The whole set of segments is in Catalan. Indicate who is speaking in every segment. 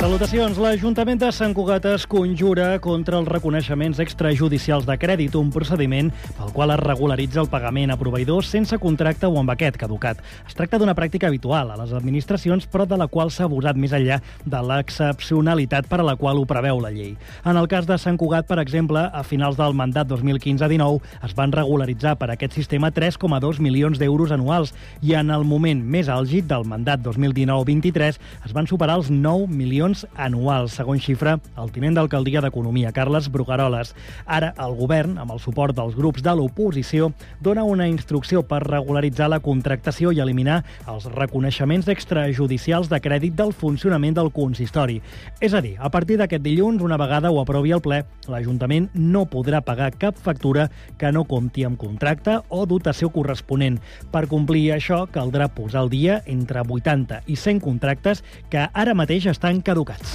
Speaker 1: Salutacions. L'Ajuntament de Sant Cugat es conjura contra els reconeixements extrajudicials de crèdit, un procediment pel qual es regularitza el pagament a proveïdors sense contracte o amb aquest caducat. Es tracta d'una pràctica habitual a les administracions, però de la qual s'ha abusat més enllà de l'excepcionalitat per a la qual ho preveu la llei. En el cas de Sant Cugat, per exemple, a finals del mandat 2015-19 es van regularitzar per aquest sistema 3,2 milions d'euros anuals i en el moment més àlgid del mandat 2019-23 es van superar els 9 milions milions anuals, segons xifra el tinent d'alcaldia d'Economia, Carles Brugaroles. Ara, el govern, amb el suport dels grups de l'oposició, dona una instrucció per regularitzar la contractació i eliminar els reconeixements extrajudicials de crèdit del funcionament del consistori. És a dir, a partir d'aquest dilluns, una vegada ho aprovi el ple, l'Ajuntament no podrà pagar cap factura que no compti amb contracte o dotació corresponent. Per complir això, caldrà posar al dia entre 80 i 100 contractes que ara mateix estan caducats caducats.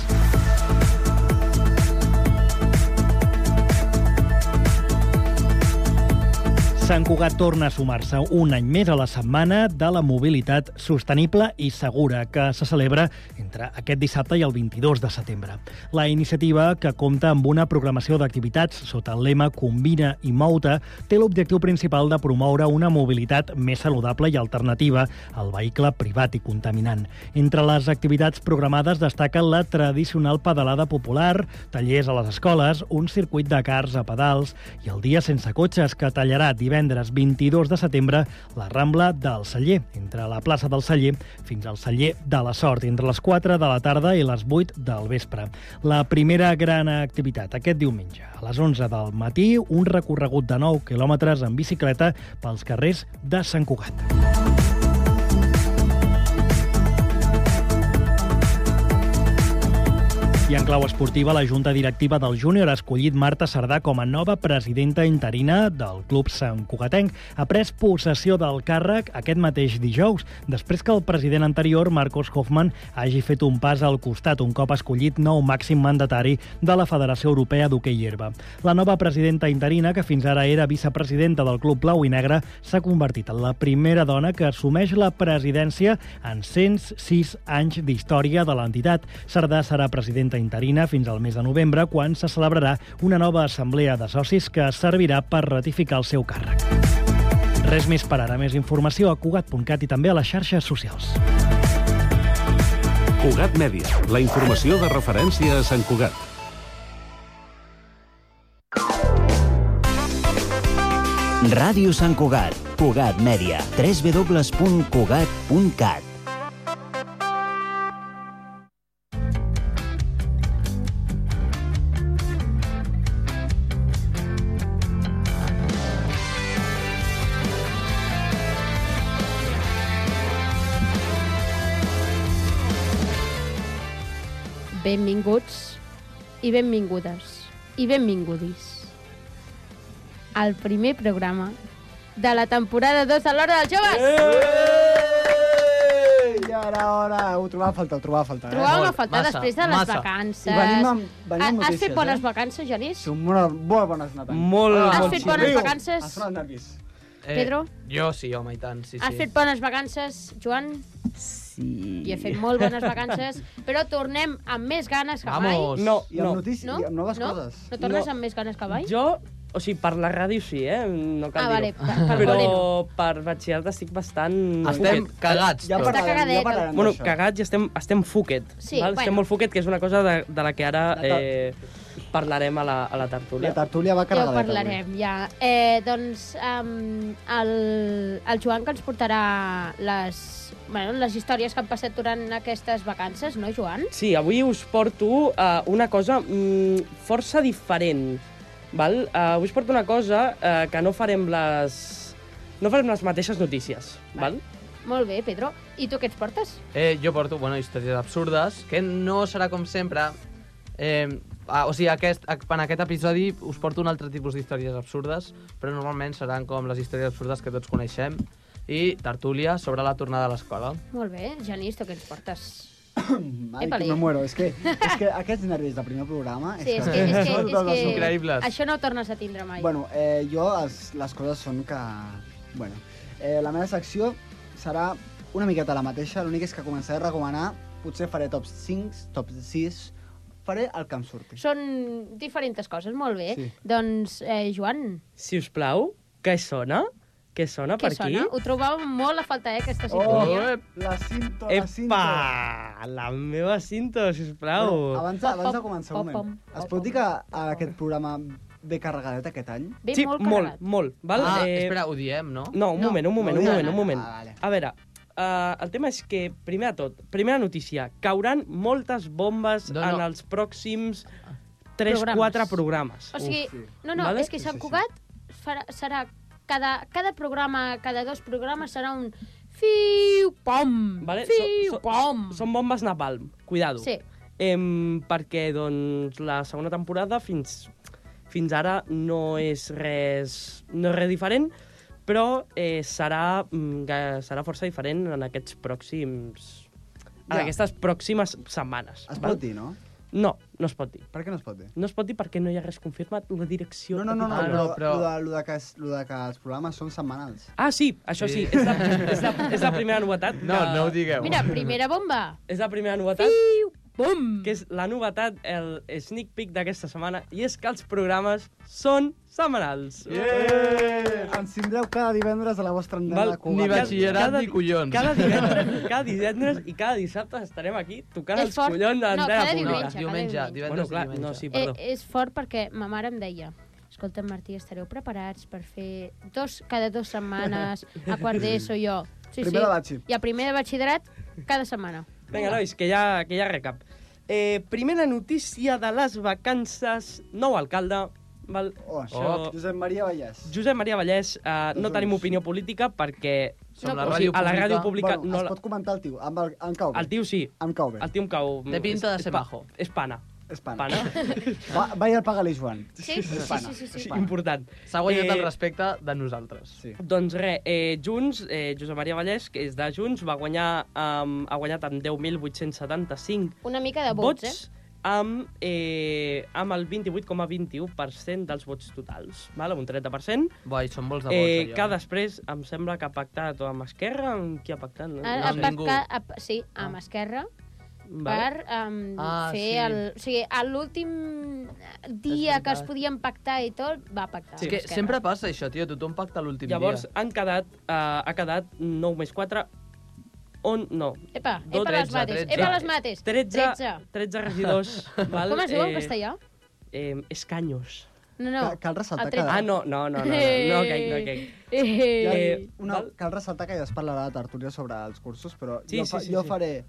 Speaker 1: Sant Cugat torna a sumar-se un any més a la Setmana de la Mobilitat Sostenible i Segura, que se celebra entre aquest dissabte i el 22 de setembre. La iniciativa, que compta amb una programació d'activitats sota el lema Combina i Mouta, té l'objectiu principal de promoure una mobilitat més saludable i alternativa al vehicle privat i contaminant. Entre les activitats programades destaquen la tradicional pedalada popular, tallers a les escoles, un circuit de cars a pedals i el dia sense cotxes, que tallarà divers divendres 22 de setembre la Rambla del Celler, entre la plaça del Celler fins al Celler de la Sort, entre les 4 de la tarda i les 8 del vespre. La primera gran activitat aquest diumenge. A les 11 del matí, un recorregut de 9 quilòmetres en bicicleta pels carrers de Sant Cugat. Música I en clau esportiva, la junta directiva del Júnior ha escollit Marta Sardà com a nova presidenta interina del club Sant Cugatenc. Ha pres possessió del càrrec aquest mateix dijous, després que el president anterior, Marcos Hoffman, hagi fet un pas al costat un cop escollit nou màxim mandatari de la Federació Europea d'Hockey Hierba. La nova presidenta interina, que fins ara era vicepresidenta del club blau i negre, s'ha convertit en la primera dona que assumeix la presidència en 106 anys d'història de l'entitat. Sardà serà presidenta junta interina fins al mes de novembre, quan se celebrarà una nova assemblea de socis que servirà per ratificar el seu càrrec. Res més per ara. Més informació a Cugat.cat i també a les xarxes socials.
Speaker 2: Cugat Mèdia, la informació de referència a Sant Cugat.
Speaker 3: Ràdio Sant Cugat, Cugat Mèdia, www.cugat.cat.
Speaker 4: Benvinguts i benvingudes i benvingudis al primer programa de la temporada 2 de l'Hora dels Joves.
Speaker 5: Eh!
Speaker 6: Ei! I ara, ara, ho trobava a faltar, ho trobava a faltar. Eh?
Speaker 4: Trobàvem a
Speaker 7: Molt,
Speaker 4: faltar
Speaker 7: massa,
Speaker 4: després de les
Speaker 7: massa.
Speaker 4: vacances.
Speaker 6: I venim amb, venim amb
Speaker 4: Ha- Has
Speaker 6: notícies,
Speaker 4: fet bones
Speaker 6: eh?
Speaker 4: vacances, Genís?
Speaker 6: Són molt, molt bones Natàlia.
Speaker 7: Molt
Speaker 4: Has
Speaker 7: bon
Speaker 4: fet
Speaker 7: xisme.
Speaker 4: Ah, bones vacances?
Speaker 6: Em sonen els nervis.
Speaker 7: Eh,
Speaker 4: Pedro?
Speaker 7: Jo sí, home, i tant, sí, sí.
Speaker 4: Has fet bones vacances, Joan? Sí. I he fet molt bones vacances, però tornem amb més ganes que
Speaker 7: Vamos.
Speaker 5: No,
Speaker 6: I amb
Speaker 5: no.
Speaker 6: notícies,
Speaker 4: No?
Speaker 6: i amb noves
Speaker 4: no?
Speaker 6: coses.
Speaker 4: No tornes
Speaker 5: No.
Speaker 4: amb més ganes que mai?
Speaker 5: Jo, o sigui, per la ràdio sí, eh? No cal
Speaker 4: Ah, vale,
Speaker 5: dir-ho.
Speaker 4: per, per
Speaker 5: Però
Speaker 4: voler no.
Speaker 5: per batxillerat estic bastant...
Speaker 7: Estem cagats.
Speaker 6: Ja
Speaker 7: tots.
Speaker 4: parla-
Speaker 6: parlarem,
Speaker 4: cagadet,
Speaker 6: ja parlarem
Speaker 5: Bueno,
Speaker 6: d'això.
Speaker 5: cagats i estem, estem fuquet.
Speaker 4: Sí,
Speaker 5: val?
Speaker 4: bueno.
Speaker 5: Estem molt fuquet, que és una cosa de, de la que ara
Speaker 6: La tar-
Speaker 5: eh, parlarem a la, a la tertúlia.
Speaker 6: La tertúlia va
Speaker 4: Ja ho
Speaker 6: carregada.
Speaker 4: parlarem, ja. Eh, doncs um, el, el Joan que ens portarà les, bueno, les històries que han passat durant aquestes vacances, no, Joan?
Speaker 5: Sí, avui us porto uh, una cosa mm, força diferent. Val? Uh, avui us porto una cosa uh, que no farem les... No farem les mateixes notícies, val?
Speaker 4: Molt bé, Pedro. I tu què ens portes?
Speaker 7: Eh, jo porto, bueno, històries absurdes, que no serà com sempre. Eh, ah, o sigui, aquest, en aquest episodi us porto un altre tipus d'històries absurdes, però normalment seran com les històries absurdes que tots coneixem i tertúlia sobre la tornada a l'escola.
Speaker 4: Molt bé, Genís, tu què ens portes?
Speaker 6: Mm, Ai,
Speaker 4: Epa-li.
Speaker 6: que me muero. És que, és que aquests nervis del primer programa...
Speaker 4: Sí, és que, és que,
Speaker 6: són
Speaker 4: és
Speaker 6: tot
Speaker 4: que,
Speaker 6: el seu-
Speaker 7: increïbles.
Speaker 4: això no ho tornes a tindre mai.
Speaker 6: Bueno, eh, jo els, les coses són que... Bueno, eh, la meva secció serà una miqueta la mateixa, l'únic és que començaré a recomanar, potser faré top 5, top 6, faré el que em surti.
Speaker 4: Són diferents coses, molt bé.
Speaker 6: Sí.
Speaker 4: Doncs, eh, Joan,
Speaker 5: Si us plau, què sona? Què sona
Speaker 4: què
Speaker 5: per aquí?
Speaker 4: sona? Ho trobàvem molt a falta, eh, aquesta
Speaker 6: Oh,
Speaker 4: sintonia.
Speaker 6: la cinta, la cinta.
Speaker 5: Epa! La meva cinta, sisplau.
Speaker 6: Però abans, de- abans de començar, un
Speaker 4: Pom,
Speaker 6: moment.
Speaker 4: pom,
Speaker 6: Es pot dir que a aquest programa ve carregadet aquest any?
Speaker 4: Ve
Speaker 5: sí,
Speaker 4: molt
Speaker 5: molt,
Speaker 4: carregat.
Speaker 5: molt. Val?
Speaker 7: Ah,
Speaker 5: Eh,
Speaker 7: espera, ho diem, no?
Speaker 5: No, un
Speaker 4: No.
Speaker 5: moment, un moment,
Speaker 6: No,
Speaker 5: un
Speaker 6: no,
Speaker 5: moment,
Speaker 6: no,
Speaker 5: un
Speaker 6: no.
Speaker 5: moment.
Speaker 6: Ah, vale.
Speaker 5: A veure, uh, el tema és que, primer de tot, primera notícia, cauran moltes bombes
Speaker 7: No,
Speaker 5: no,
Speaker 7: no.
Speaker 5: no. en els pròxims
Speaker 4: Programes.
Speaker 5: 3-4 programes. programes.
Speaker 4: O sigui,
Speaker 6: Uf, sí.
Speaker 4: no, no,
Speaker 5: Vale?
Speaker 4: és que
Speaker 6: Sí,
Speaker 4: Sant
Speaker 6: sí,
Speaker 4: Cugat farà, serà cada, cada programa, cada dos programes serà un fiu pom,
Speaker 5: Vale?
Speaker 4: fiu
Speaker 5: So- so-
Speaker 4: pom.
Speaker 5: Són bombes napalm, cuidado.
Speaker 4: Sí,
Speaker 5: Em, perquè, doncs, la segona temporada fins, fins ara no és res, no és res diferent, però eh, serà, mm, ga- serà força diferent en aquests pròxims... En
Speaker 6: Ja.
Speaker 5: aquestes pròximes setmanes.
Speaker 6: Es
Speaker 5: val?
Speaker 6: pot dir, no?
Speaker 5: No, no es pot dir.
Speaker 6: Per què no es pot dir?
Speaker 5: No es pot dir perquè no hi ha res confirmat, la direcció...
Speaker 6: No, no, no, no,
Speaker 7: Ah,
Speaker 6: però,
Speaker 7: no, però-
Speaker 6: Lo, de, lo, de que, es- lo de que els programes són setmanals.
Speaker 5: Ah, sí, això
Speaker 7: Sí.
Speaker 5: sí, és, la, és, la, és la primera novetat.
Speaker 7: No,
Speaker 5: que-
Speaker 7: no ho digueu.
Speaker 4: mira, primera bomba.
Speaker 5: És la primera novetat,
Speaker 4: Fiu pom.
Speaker 5: que és la novetat, el sneak peek d'aquesta setmana, i és que els programes són setmanals.
Speaker 6: Eh, ens tindreu cada divendres a la vostra antena
Speaker 5: Val,
Speaker 6: de Cugat.
Speaker 7: Ni
Speaker 5: cada-
Speaker 7: batxillerat
Speaker 5: cada-
Speaker 7: ni collons.
Speaker 5: Cada divendres, cada divendres i cada dissabte estarem aquí tocant
Speaker 4: És
Speaker 5: els
Speaker 4: fort.
Speaker 5: collons de
Speaker 4: No,
Speaker 5: l'antena
Speaker 4: cada
Speaker 7: No,
Speaker 5: pública.
Speaker 4: diumenge.
Speaker 7: diumenge,
Speaker 4: cada diumenge.
Speaker 7: divendres
Speaker 5: Bueno, clar,
Speaker 7: i diumenge.
Speaker 5: no, sí,
Speaker 4: Eh,
Speaker 5: perdó.
Speaker 4: és fort perquè ma mare em deia escolta, Martí, estareu preparats per fer dos, cada dues setmanes a quart d'ESO jo? Sí,
Speaker 6: Primer de
Speaker 4: sí.
Speaker 6: batxi.
Speaker 4: I a primer de batxillerat cada setmana.
Speaker 5: Vinga, nois, que ja, que ja recap. Eh, primera notícia de les vacances, nou alcalde, val?
Speaker 6: Oh,
Speaker 5: Això-
Speaker 6: Josep Maria Vallès.
Speaker 5: Josep Maria Vallès, eh, no
Speaker 6: Doncs-
Speaker 5: tenim opinió política perquè
Speaker 7: Som
Speaker 4: No,
Speaker 7: la
Speaker 4: o
Speaker 5: o
Speaker 7: ràdio
Speaker 5: sigui, a la ràdio pública
Speaker 6: bueno,
Speaker 5: no
Speaker 6: es
Speaker 5: la...
Speaker 6: pot comentar el tio. Amb el, em cau bé.
Speaker 5: El tio sí,
Speaker 6: Em cau bé.
Speaker 5: el tio em cau...
Speaker 7: Té pinta de
Speaker 5: és-
Speaker 7: ser
Speaker 5: és pa-
Speaker 7: majo.
Speaker 5: És pana.
Speaker 6: És pana.
Speaker 5: Pana.
Speaker 6: Va, va i el paga-li, Joan.
Speaker 4: Sí, sí, sí, sí, sí, sí,
Speaker 5: Sí,
Speaker 4: sí.
Speaker 5: important. Eh,
Speaker 7: S'ha guanyat el respecte de nosaltres.
Speaker 6: Sí.
Speaker 5: Doncs res, eh, Junts, eh, Josep Maria Vallès, que és de Junts, va guanyar, um, ha guanyat amb 10.875
Speaker 4: Una mica de vots,
Speaker 5: vots,
Speaker 7: eh?
Speaker 5: amb, eh, amb el 28,21% dels vots totals, val? un 30%,
Speaker 7: Boi, són molts de vots,
Speaker 5: eh,
Speaker 7: allò.
Speaker 5: que després em sembla que ha pactat o amb Esquerra, amb qui ha pactat? No,
Speaker 4: eh? Ara,
Speaker 5: sé.
Speaker 4: a,
Speaker 7: ningú.
Speaker 4: a, a, sí, amb Esquerra,
Speaker 5: Vale.
Speaker 4: per um,
Speaker 7: Ah,
Speaker 4: fer
Speaker 7: sí.
Speaker 4: el... O sigui, a l'últim dia
Speaker 7: veritat.
Speaker 4: que es podien pactar i tot, va pactar.
Speaker 7: És que
Speaker 4: Esquerra.
Speaker 7: sempre passa això, tio, tothom pacta l'últim dia.
Speaker 5: Llavors han quedat, eh, ha quedat 9 més 4, on, no,
Speaker 4: Epa,
Speaker 5: Do-
Speaker 4: epa les
Speaker 5: 13,
Speaker 4: mates,
Speaker 5: 13.
Speaker 4: epa les mates.
Speaker 5: 13,
Speaker 4: 13.
Speaker 5: 13 regidors. val?
Speaker 4: Com es diu en
Speaker 5: Eh,
Speaker 4: castellà?
Speaker 5: Eh, escaños.
Speaker 4: No, no.
Speaker 6: No. Cal ressaltar
Speaker 4: el
Speaker 6: que...
Speaker 4: tretze.
Speaker 5: Ah, no, no, no, no, no, no caic, no caic.
Speaker 4: Eh,
Speaker 5: Eh,
Speaker 6: Una,
Speaker 5: val?
Speaker 6: cal ressaltar que ja es parlarà de tertúlia sobre els cursos, però
Speaker 5: Sí,
Speaker 6: jo,
Speaker 5: sí,
Speaker 6: fa,
Speaker 5: sí,
Speaker 6: jo
Speaker 5: sí.
Speaker 6: faré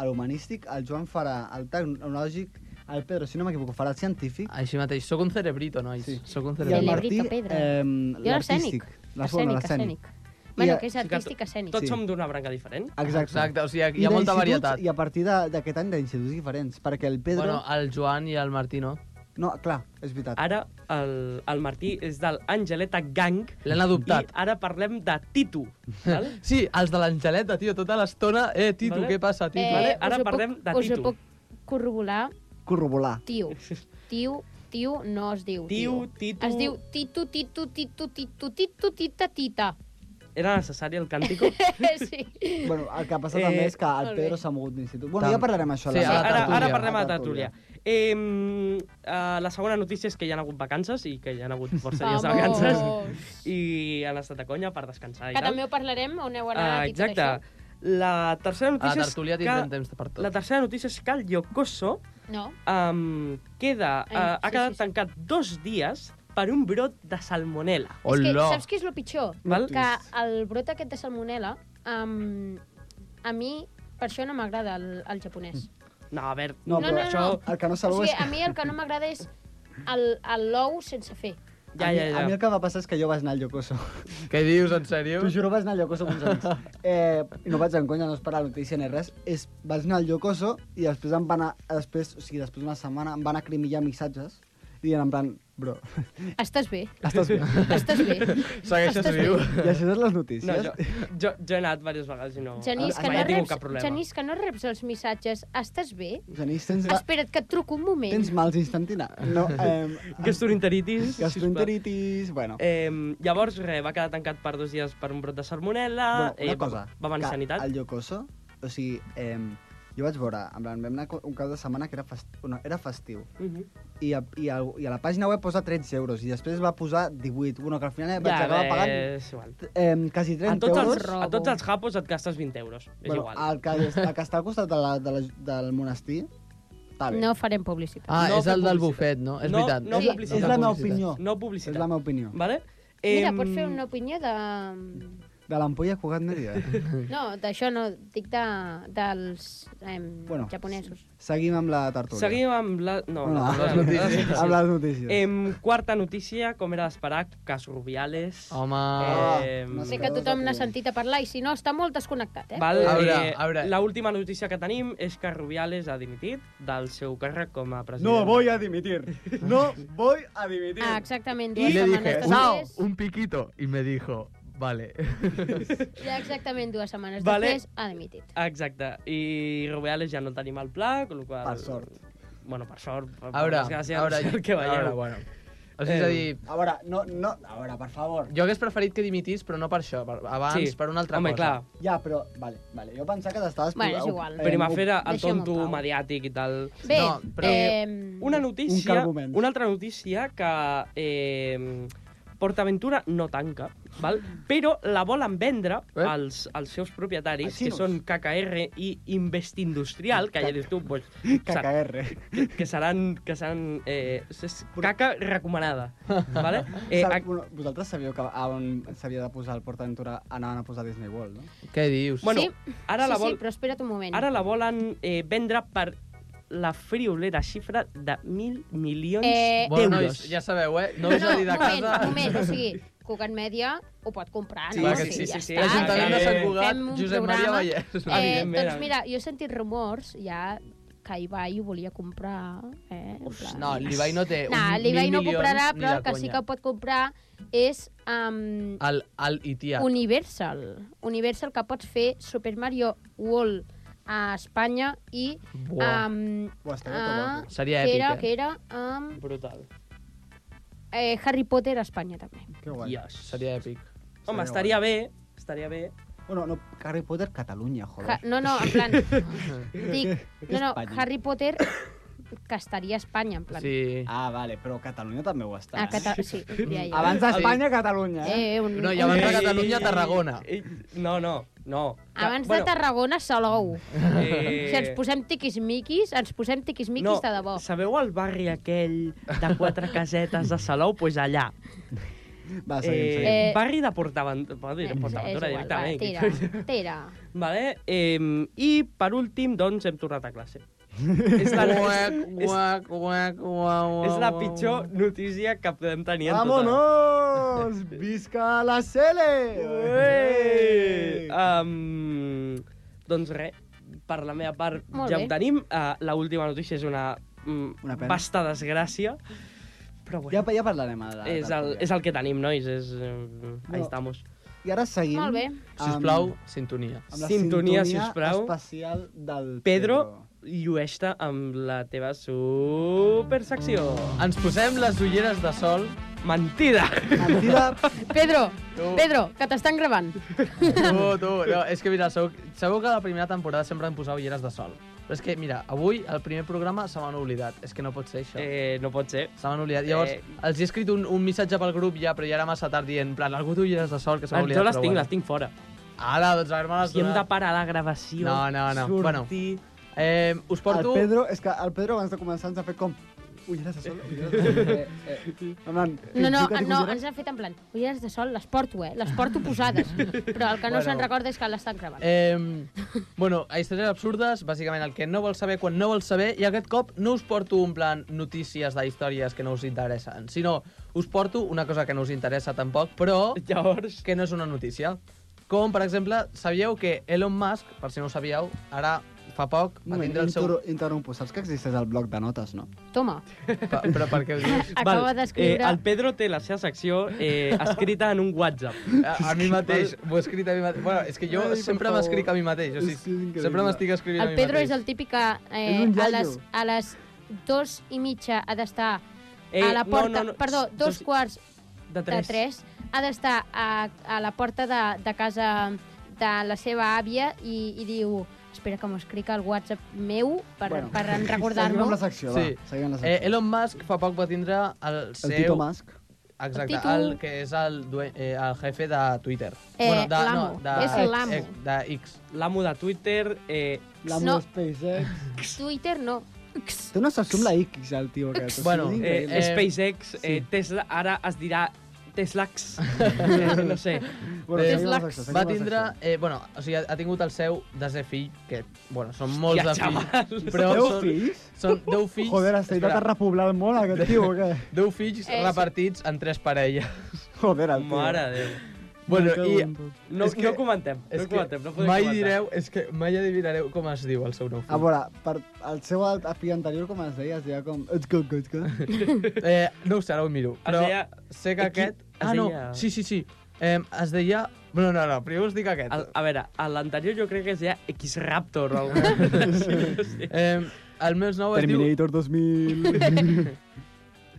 Speaker 6: el humanístic, el Joan farà el tecnològic, el Pedro, si no m'equivoco, farà el científic,
Speaker 7: Així mateix, sóc un cerebrito, nois.
Speaker 6: Sí.
Speaker 7: Ah, Sóc un
Speaker 6: i el
Speaker 7: cerebrito.
Speaker 6: Martí,
Speaker 4: Cerebrito, Pedro.
Speaker 6: eh,
Speaker 4: Jo l'escènic.
Speaker 6: l'artístic. La
Speaker 4: escènic,
Speaker 6: zona, l'escènic.
Speaker 4: escènic. Bueno,
Speaker 6: I,
Speaker 4: que és
Speaker 5: o sigui que
Speaker 4: artístic escènic.
Speaker 5: Tots
Speaker 6: Sí.
Speaker 5: som d'una branca diferent.
Speaker 6: Exacte.
Speaker 7: Exacte, o sigui,
Speaker 6: I
Speaker 7: hi ha molta
Speaker 6: d'instituts,
Speaker 7: varietat.
Speaker 6: I a partir de- d'aquest any d'instituts diferents, perquè el Pedro...
Speaker 7: Bueno, el Joan i el Martí, no?
Speaker 6: No, clar, és veritat.
Speaker 5: Ara el, el Martí és del Angeleta Gang.
Speaker 7: L'han adoptat.
Speaker 5: I ara parlem de Titu. Val?
Speaker 7: Sí, els de l'Angeleta, tio, tota l'estona. Eh, Tito,
Speaker 5: Vale.
Speaker 7: què passa, Tito?
Speaker 5: vale?
Speaker 4: us
Speaker 5: Ara
Speaker 4: ho puc-
Speaker 5: parlem de
Speaker 4: Us ho
Speaker 5: Tito.
Speaker 4: puc corroborar.
Speaker 6: Corrobolar.
Speaker 4: Tio. Tio, tio, no es diu.
Speaker 5: Tiu, Titu...
Speaker 4: Es diu titu, titu, titu, titu, titu, tita, tita.
Speaker 5: Era necessari el càntico?
Speaker 4: sí.
Speaker 6: Bueno, el que ha passat
Speaker 5: Eh,
Speaker 6: també és que el
Speaker 4: molt bé.
Speaker 6: Pedro s'ha mogut d'institut. Bueno,
Speaker 7: Tant.
Speaker 6: ja parlarem això. a
Speaker 7: Sí,
Speaker 6: la- a
Speaker 7: a la
Speaker 6: la
Speaker 5: ara,
Speaker 7: tertúlia.
Speaker 5: ara parlem
Speaker 6: a
Speaker 5: de
Speaker 6: la tertúlia.
Speaker 5: tertúlia. Eh, eh, la segona notícia és que hi ha hagut vacances i que hi ha hagut força dies de
Speaker 4: Vamos.
Speaker 5: vacances i han estat de conya per descansar i
Speaker 4: Que
Speaker 5: tal.
Speaker 4: també ho parlarem, on heu
Speaker 5: Ah,
Speaker 4: anat i tot
Speaker 5: exacte.
Speaker 4: això.
Speaker 5: La tercera
Speaker 7: A la
Speaker 5: notícia
Speaker 7: tertúlia
Speaker 5: és
Speaker 7: tindrem
Speaker 5: que...
Speaker 7: temps per
Speaker 5: La
Speaker 7: tot.
Speaker 5: tercera notícia és que el Yokoso
Speaker 4: No?
Speaker 5: um, queda,
Speaker 4: Ai,
Speaker 5: uh, ha
Speaker 4: sí,
Speaker 5: quedat
Speaker 4: sí, sí.
Speaker 5: tancat dos dies per un brot de salmonella.
Speaker 4: És que,
Speaker 7: Hola!
Speaker 4: saps què és el pitjor?
Speaker 5: Val?
Speaker 4: Que el brot aquest de salmonella, um, a mi, per això no m'agrada el, el japonès.
Speaker 5: No, a veure,
Speaker 6: No,
Speaker 4: No,
Speaker 6: però
Speaker 4: no,
Speaker 6: això...
Speaker 4: no.
Speaker 6: El que no
Speaker 4: O
Speaker 6: sabeu
Speaker 4: sigui,
Speaker 6: és...
Speaker 4: a mi el que no m'agrada és el- el- l'ou sense fer.
Speaker 5: Ja,
Speaker 6: a, mi,
Speaker 5: ja, ja.
Speaker 6: a mi el que va passar és que jo vaig anar al Yokoso.
Speaker 7: Què dius, en sèrio?
Speaker 6: T'ho juro, vaig anar al Yokoso amb uns amics. Eh, i no vaig en conya, no és per la notícia ni res. És, vaig anar al Yokoso i després em van anar... Després, o sigui, després d'una setmana em van acriminar missatges dient en plan, bro,
Speaker 4: Estàs bé,
Speaker 6: estàs bé.
Speaker 4: estàs bé.
Speaker 7: Segueixes
Speaker 4: Estàs bé.
Speaker 7: viu.
Speaker 6: I això és les notícies.
Speaker 5: No, jo, jo, jo he anat diverses vegades i no...
Speaker 4: Genís, que
Speaker 5: mai
Speaker 4: no,
Speaker 5: he tingut
Speaker 4: reps,
Speaker 5: cap problema.
Speaker 4: Genís, que no reps els missatges. Estàs bé?
Speaker 6: Genís, tens,
Speaker 4: Espera't, que et truco un moment.
Speaker 6: tens mals instantina. No, eh,
Speaker 5: Gastroenteritis.
Speaker 6: gastroenteritis, bueno.
Speaker 5: Eh, llavors, res, va quedar tancat per dos dies per un brot de salmonella...
Speaker 6: bueno, una
Speaker 5: eh,
Speaker 6: cosa.
Speaker 5: Va, va venir
Speaker 6: que
Speaker 5: sanitat.
Speaker 6: El Yokoso, o sigui, eh, jo vaig veure, en plan, vam anar co- un cap de setmana que era, fest, no, era festiu,
Speaker 5: Mhm.
Speaker 6: i a, i, a, i a la pàgina web posa 13 euros, i després va posar 18, bueno, que al final vaig acabar
Speaker 5: bé,
Speaker 6: pagant
Speaker 5: és igual.
Speaker 6: eh, quasi
Speaker 5: A
Speaker 6: 30
Speaker 5: tots,
Speaker 6: euros.
Speaker 5: els, a tots els japos et gastes 20 euros. És
Speaker 6: bueno,
Speaker 5: igual.
Speaker 6: El que, el que està al costat de la, de la, del monestir, està bé.
Speaker 4: No farem publicitat.
Speaker 7: Ah,
Speaker 5: No
Speaker 7: és el
Speaker 5: fer
Speaker 7: del
Speaker 5: publicitat.
Speaker 7: bufet, no? És
Speaker 5: No-
Speaker 7: veritat.
Speaker 5: no
Speaker 6: és,
Speaker 5: publicitat.
Speaker 6: és la meva opinió.
Speaker 5: No
Speaker 6: És
Speaker 5: publicitat.
Speaker 6: la meva opinió.
Speaker 5: Vale?
Speaker 4: Mira,
Speaker 5: Em,
Speaker 4: pots fer una opinió de...
Speaker 6: De l'ampolla Cugat Mèdia.
Speaker 4: No, d'això no, dic de, dels eh,
Speaker 6: Bueno.
Speaker 4: bueno, japonesos.
Speaker 6: Seguim amb la tertúlia.
Speaker 5: Seguim amb la... No,
Speaker 6: No,
Speaker 5: amb
Speaker 6: amb
Speaker 5: la-
Speaker 6: les notícies. Amb les notícies.
Speaker 5: Em, quarta notícia, com era d'esperar, cas Rubiales.
Speaker 7: Home...
Speaker 6: Ah,
Speaker 5: Em,
Speaker 6: no
Speaker 4: Sé que tothom n'ha sentit a parlar i si no està molt desconnectat, eh?
Speaker 5: Val,
Speaker 7: A veure,
Speaker 5: eh,
Speaker 7: a veure.
Speaker 5: La última notícia que tenim és que Rubiales ha dimitit del seu càrrec com a president.
Speaker 6: No voy a dimitir. No voy a dimitir.
Speaker 4: Ah, exactament,
Speaker 7: I
Speaker 4: dues
Speaker 7: le
Speaker 4: setmanes
Speaker 7: dije, Sao,
Speaker 4: després...
Speaker 7: un piquito. I me dijo, vale.
Speaker 4: Ja exactament dues setmanes
Speaker 5: Vale.
Speaker 4: després ha dimitit.
Speaker 5: Exacte. I Rubiales ja no el tenim al pla, con lo qual...
Speaker 6: Per sort.
Speaker 5: Bueno, per sort, per,
Speaker 7: A veure,
Speaker 5: per desgràcia,
Speaker 7: a veure,
Speaker 5: no sé el que veieu.
Speaker 7: a veure, bueno. O sigui, és a dir,
Speaker 6: A veure, no, no, a veure, per favor.
Speaker 7: jo hagués preferit que dimitís, però no per això, per, abans, per una altra
Speaker 5: Home,
Speaker 7: cosa.
Speaker 5: Home,
Speaker 6: Ja, però, vale, vale. Jo pensava que t'estaves...
Speaker 4: Bueno, és igual.
Speaker 6: Eh,
Speaker 5: clar, Primavera, el
Speaker 4: Deixem-ho en
Speaker 5: tonto
Speaker 4: pau.
Speaker 5: mediàtic i tal.
Speaker 4: Bé,
Speaker 7: No, però-
Speaker 4: ehm,
Speaker 5: Una notícia,
Speaker 6: cargoment.
Speaker 5: una altra notícia que eh, PortAventura no tanca, val? però la volen vendre
Speaker 7: Eh?
Speaker 5: als, als seus
Speaker 6: A
Speaker 5: propietaris, que
Speaker 6: xinos.
Speaker 5: són KKR i Invest Industrial, que ja dius tu, pues, sa-
Speaker 6: KKR.
Speaker 5: que, que seran... Que seran eh, és caca recomanada. Vale?
Speaker 6: Eh,
Speaker 5: Eh,
Speaker 6: a...
Speaker 5: a,
Speaker 6: Vosaltres sabíeu que a on s'havia de posar el PortAventura anaven a posar Disney World, no?
Speaker 7: Què dius?
Speaker 5: bueno,
Speaker 4: Sí.
Speaker 5: ara
Speaker 4: sí,
Speaker 5: la vol...
Speaker 4: sí, però espera't un moment.
Speaker 5: Ara la volen eh, vendre per la friolera xifra de mil milions
Speaker 4: Eh,
Speaker 7: Bueno,
Speaker 5: d'euros.
Speaker 7: nois, ja sabeu, eh? No
Speaker 4: No,
Speaker 7: us
Speaker 4: no,
Speaker 7: no, de
Speaker 4: moment,
Speaker 7: casa...
Speaker 4: moment, o sigui, Cugat Media ho pot comprar,
Speaker 5: Sí,
Speaker 4: no?
Speaker 5: clar que sí,
Speaker 4: ja
Speaker 5: sí, sí.
Speaker 4: està.
Speaker 7: L'Ajuntament de Sant Cugat,
Speaker 4: Fem un
Speaker 7: Josep Maria
Speaker 4: programa.
Speaker 7: Vallès.
Speaker 4: Eh,
Speaker 5: Evidentment.
Speaker 4: doncs mira, jo he sentit rumors ja que Ibai ho volia comprar, eh? en plan-
Speaker 7: No, l'Ibai no té
Speaker 4: Nah,
Speaker 7: un
Speaker 4: l'Ibai
Speaker 7: Eh, mil
Speaker 4: no ho comprarà,
Speaker 7: milions ni
Speaker 4: però
Speaker 7: de
Speaker 4: el que sí que
Speaker 7: conya.
Speaker 4: pot comprar és um,
Speaker 7: El, el Itiat.
Speaker 4: Universal. Universal que pots fer Super Mario World a Espanya i...
Speaker 7: Buah,
Speaker 4: Um,
Speaker 6: Ho estaria
Speaker 4: a,
Speaker 6: tot
Speaker 7: seria
Speaker 4: que era,
Speaker 7: èpic,
Speaker 4: que
Speaker 7: eh?
Speaker 4: era um,
Speaker 5: Brutal.
Speaker 4: eh, Harry Potter a Espanya també.
Speaker 6: guapo. Que guai.
Speaker 5: Dios.
Speaker 7: Seria èpic.
Speaker 5: Home,
Speaker 6: Seria
Speaker 5: estaria bé, estaria bé.
Speaker 6: Bueno, no, Harry Potter Catalunya,
Speaker 4: Ha,
Speaker 6: joder.
Speaker 4: no, no, en plan... dic, no, no,
Speaker 6: Espanya.
Speaker 4: Harry Potter que estaria a Espanya, en plan.
Speaker 7: Sí.
Speaker 6: Ah, vale, però Catalunya també ho està. eh?
Speaker 4: A Cata sí, ja, ja.
Speaker 6: Abans d'Espanya, Catalunya, eh?
Speaker 4: Eh, un,
Speaker 7: No, i
Speaker 4: un-
Speaker 7: abans de
Speaker 5: Eh,
Speaker 7: Catalunya,
Speaker 5: eh,
Speaker 7: Tarragona.
Speaker 5: eh, No, no, no.
Speaker 4: abans
Speaker 5: Bueno,
Speaker 4: de Tarragona, Salou.
Speaker 5: eh,
Speaker 4: Si ens posem tiquis-miquis, ens posem tiquis-miquis de debò.
Speaker 5: Sabeu el barri aquell de quatre casetes de Salou? Doncs pues
Speaker 7: Ah,
Speaker 5: allà.
Speaker 6: Va, seguim, seguim.
Speaker 4: Eh,
Speaker 5: barri de Portaventura, bueno,
Speaker 4: Eh,
Speaker 5: diré Portaventura
Speaker 4: és igual, va,
Speaker 5: directament.
Speaker 4: tira, tira.
Speaker 5: Vale? Eh, I per últim, doncs, hem tornat a classe. és, la,
Speaker 7: Uac,
Speaker 5: és,
Speaker 7: uac, uac, uau, uau,
Speaker 5: és la
Speaker 7: uau.
Speaker 5: pitjor notícia que podem tenir en tota la...
Speaker 6: ¡Vámonos! ¡Visca la
Speaker 5: Ué!
Speaker 6: Sele!
Speaker 5: Um, doncs res, per la meva part
Speaker 4: Molt
Speaker 5: ja
Speaker 4: bé.
Speaker 5: ho tenim. Uh, la última notícia és una,
Speaker 6: Una
Speaker 5: mm,
Speaker 6: pena.
Speaker 5: vasta desgràcia.
Speaker 6: Ja,
Speaker 5: Però bueno,
Speaker 6: pa- ja parlarem ara. de
Speaker 5: és, el,
Speaker 6: tertúlia.
Speaker 5: és el que tenim, nois. És, um, ahí
Speaker 6: No.
Speaker 5: estamos.
Speaker 6: I ara seguim...
Speaker 4: Molt bé.
Speaker 7: Sisplau,
Speaker 5: Um,
Speaker 7: sintonia.
Speaker 6: Amb, amb la
Speaker 5: Sintonia,
Speaker 6: sintonia,
Speaker 5: sisplau.
Speaker 6: especial del
Speaker 5: Pedro,
Speaker 6: Pedro.
Speaker 5: llueix-te amb la teva supersecció.
Speaker 7: Ens posem les ulleres de sol.
Speaker 5: Mentida!
Speaker 6: Mentida,
Speaker 4: Pedro,
Speaker 7: Tu.
Speaker 4: Pedro, que t'estan gravant.
Speaker 7: Tu, tu, no, és que mira, sabeu, sabeu que a la primera temporada sempre em posava ulleres de sol. Però és que, mira, avui el primer programa se m'han oblidat. És que no pot ser això.
Speaker 5: Eh, no pot ser.
Speaker 7: Se m'han oblidat. Llavors,
Speaker 5: Eh.
Speaker 7: els he escrit un, un missatge pel grup ja, però ja era massa tard dient, en plan, algú té ulleres de sol que se m'ha oblidat.
Speaker 5: Ah, Jo les
Speaker 7: però
Speaker 5: tinc,
Speaker 7: bueno.
Speaker 5: les tinc fora.
Speaker 7: Ara, doncs, a veure, me les
Speaker 5: Si hem de
Speaker 7: donarà.
Speaker 5: parar la gravació,
Speaker 7: No, no, no.
Speaker 5: sortir... Bueno.
Speaker 7: Eh, us porto...
Speaker 6: el Pedro, és que el Pedro abans de començar ens ha fet com... Ulleres de sol, ulleres de sol. Eh, eh. En plan,
Speaker 4: No, no, ah,
Speaker 6: fica't
Speaker 4: no,
Speaker 6: ulleres.
Speaker 4: ens han fet en plan, ulleres de sol, les porto, eh? Les porto posades. Però el que no
Speaker 7: Bueno.
Speaker 4: se'n recorda és que l'estan gravant.
Speaker 7: Eh, bueno, a històries absurdes, bàsicament el que no vols saber quan no vols saber, i aquest cop no us porto en plan notícies de històries que no us interessen, sinó us porto una cosa que no us interessa tampoc, però
Speaker 5: Llavors,
Speaker 7: que no és una notícia. Com, per exemple, sabíeu que Elon Musk, per si no ho sabíeu, ara fa poc va
Speaker 6: Moment,
Speaker 7: tindre el seu...
Speaker 6: inter- interrompo. Saps que existeix el bloc de notes, no?
Speaker 4: Toma,
Speaker 7: Pa, però per què ho dius?
Speaker 4: acaba
Speaker 5: eh,
Speaker 4: d'escriure...
Speaker 5: el Pedro té la seva secció eh, escrita en un WhatsApp.
Speaker 7: A, a mi mateix, m'ho he escrit a mi mateix. Bueno, és que jo
Speaker 6: Ai, per
Speaker 7: sempre
Speaker 6: favor.
Speaker 7: m'escric a mi mateix. O
Speaker 6: És
Speaker 7: sigui,
Speaker 6: increïble.
Speaker 7: sempre m'estic escrivint a
Speaker 4: El
Speaker 7: mi
Speaker 4: Pedro és
Speaker 7: mateix.
Speaker 4: el típic que eh,
Speaker 6: És un
Speaker 4: a,
Speaker 6: iaio.
Speaker 4: les, a les dos i mitja ha d'estar
Speaker 5: Eh,
Speaker 4: a la porta...
Speaker 5: no, no, no,
Speaker 4: Perdó, dos quarts
Speaker 5: de
Speaker 4: de tres. Ha d'estar a, a la porta de, de casa de la seva àvia i, i diu espera que m'ho escric al WhatsApp meu per, bueno,
Speaker 6: Bueno.
Speaker 4: per en
Speaker 6: Seguim
Speaker 4: recordar-m'ho.
Speaker 6: amb la secció, va.
Speaker 7: Sí.
Speaker 6: Seguim amb la
Speaker 7: Eh,
Speaker 6: secció.
Speaker 7: Elon Musk fa poc va tindre el seu...
Speaker 6: el Tito Musk.
Speaker 7: Exacte,
Speaker 4: El
Speaker 7: el,
Speaker 4: Tito.
Speaker 7: que és el, due- eh, el jefe de Twitter.
Speaker 4: Eh, l'amo. És l'amo.
Speaker 7: eh, de X.
Speaker 5: L'amo de Twitter, eh,
Speaker 6: La
Speaker 4: No.
Speaker 6: no. SpaceX.
Speaker 4: Twitter no.
Speaker 6: Té una secció amb la X, el tio aquest.
Speaker 7: Bueno,
Speaker 6: és
Speaker 5: eh,
Speaker 6: increïble.
Speaker 7: eh,
Speaker 5: SpaceX, eh, Tesla, ara es dirà Teslax, eh, no sé.
Speaker 6: Bueno,
Speaker 7: eh,
Speaker 6: seguim amb la
Speaker 4: Slack
Speaker 6: secció, seguim amb
Speaker 7: Va
Speaker 6: la
Speaker 7: tindre...
Speaker 6: secció.
Speaker 7: Eh, bueno, o sigui, ha tingut el seu desè fill, que, bueno, són molts de
Speaker 5: Hòstia,
Speaker 7: fills.
Speaker 5: xaval.
Speaker 7: Però
Speaker 6: Deu
Speaker 7: són,
Speaker 6: fills?
Speaker 7: Són deu fills...
Speaker 6: Joder, has
Speaker 7: Espera,
Speaker 6: intentat repoblar el món, aquest tio, o què?
Speaker 7: Deu fills
Speaker 4: Eh, sí.
Speaker 7: repartits en tres parelles.
Speaker 6: Joder, el tio.
Speaker 5: Mare de Déu.
Speaker 7: Bueno,
Speaker 6: cago
Speaker 7: i...
Speaker 6: en tot.
Speaker 5: No,
Speaker 7: És que-
Speaker 5: no comentem, no
Speaker 7: És que
Speaker 5: comentem, no podem
Speaker 7: mai
Speaker 5: comentar. Ah,
Speaker 7: direu, és que mai adivinareu com es diu el seu
Speaker 6: A
Speaker 7: nou fill.
Speaker 6: veure, per el seu alt- fill anterior, com es deia? Es deia com... It's good, good, good.
Speaker 7: Eh, no ho sé, ara ho miro. Però
Speaker 5: Es deia-
Speaker 7: sé que
Speaker 5: eh, qui-
Speaker 7: aquest...
Speaker 5: es
Speaker 7: Ah, no,
Speaker 5: deia-
Speaker 7: sí, sí, sí. Eh, es deia... No, no, no, primer us dic aquest.
Speaker 5: El, a veure, a l'anterior jo crec que es deia X-Raptor o alguna cosa així, no sé.
Speaker 7: Eh, el meu nou es diu
Speaker 6: Terminator 2000.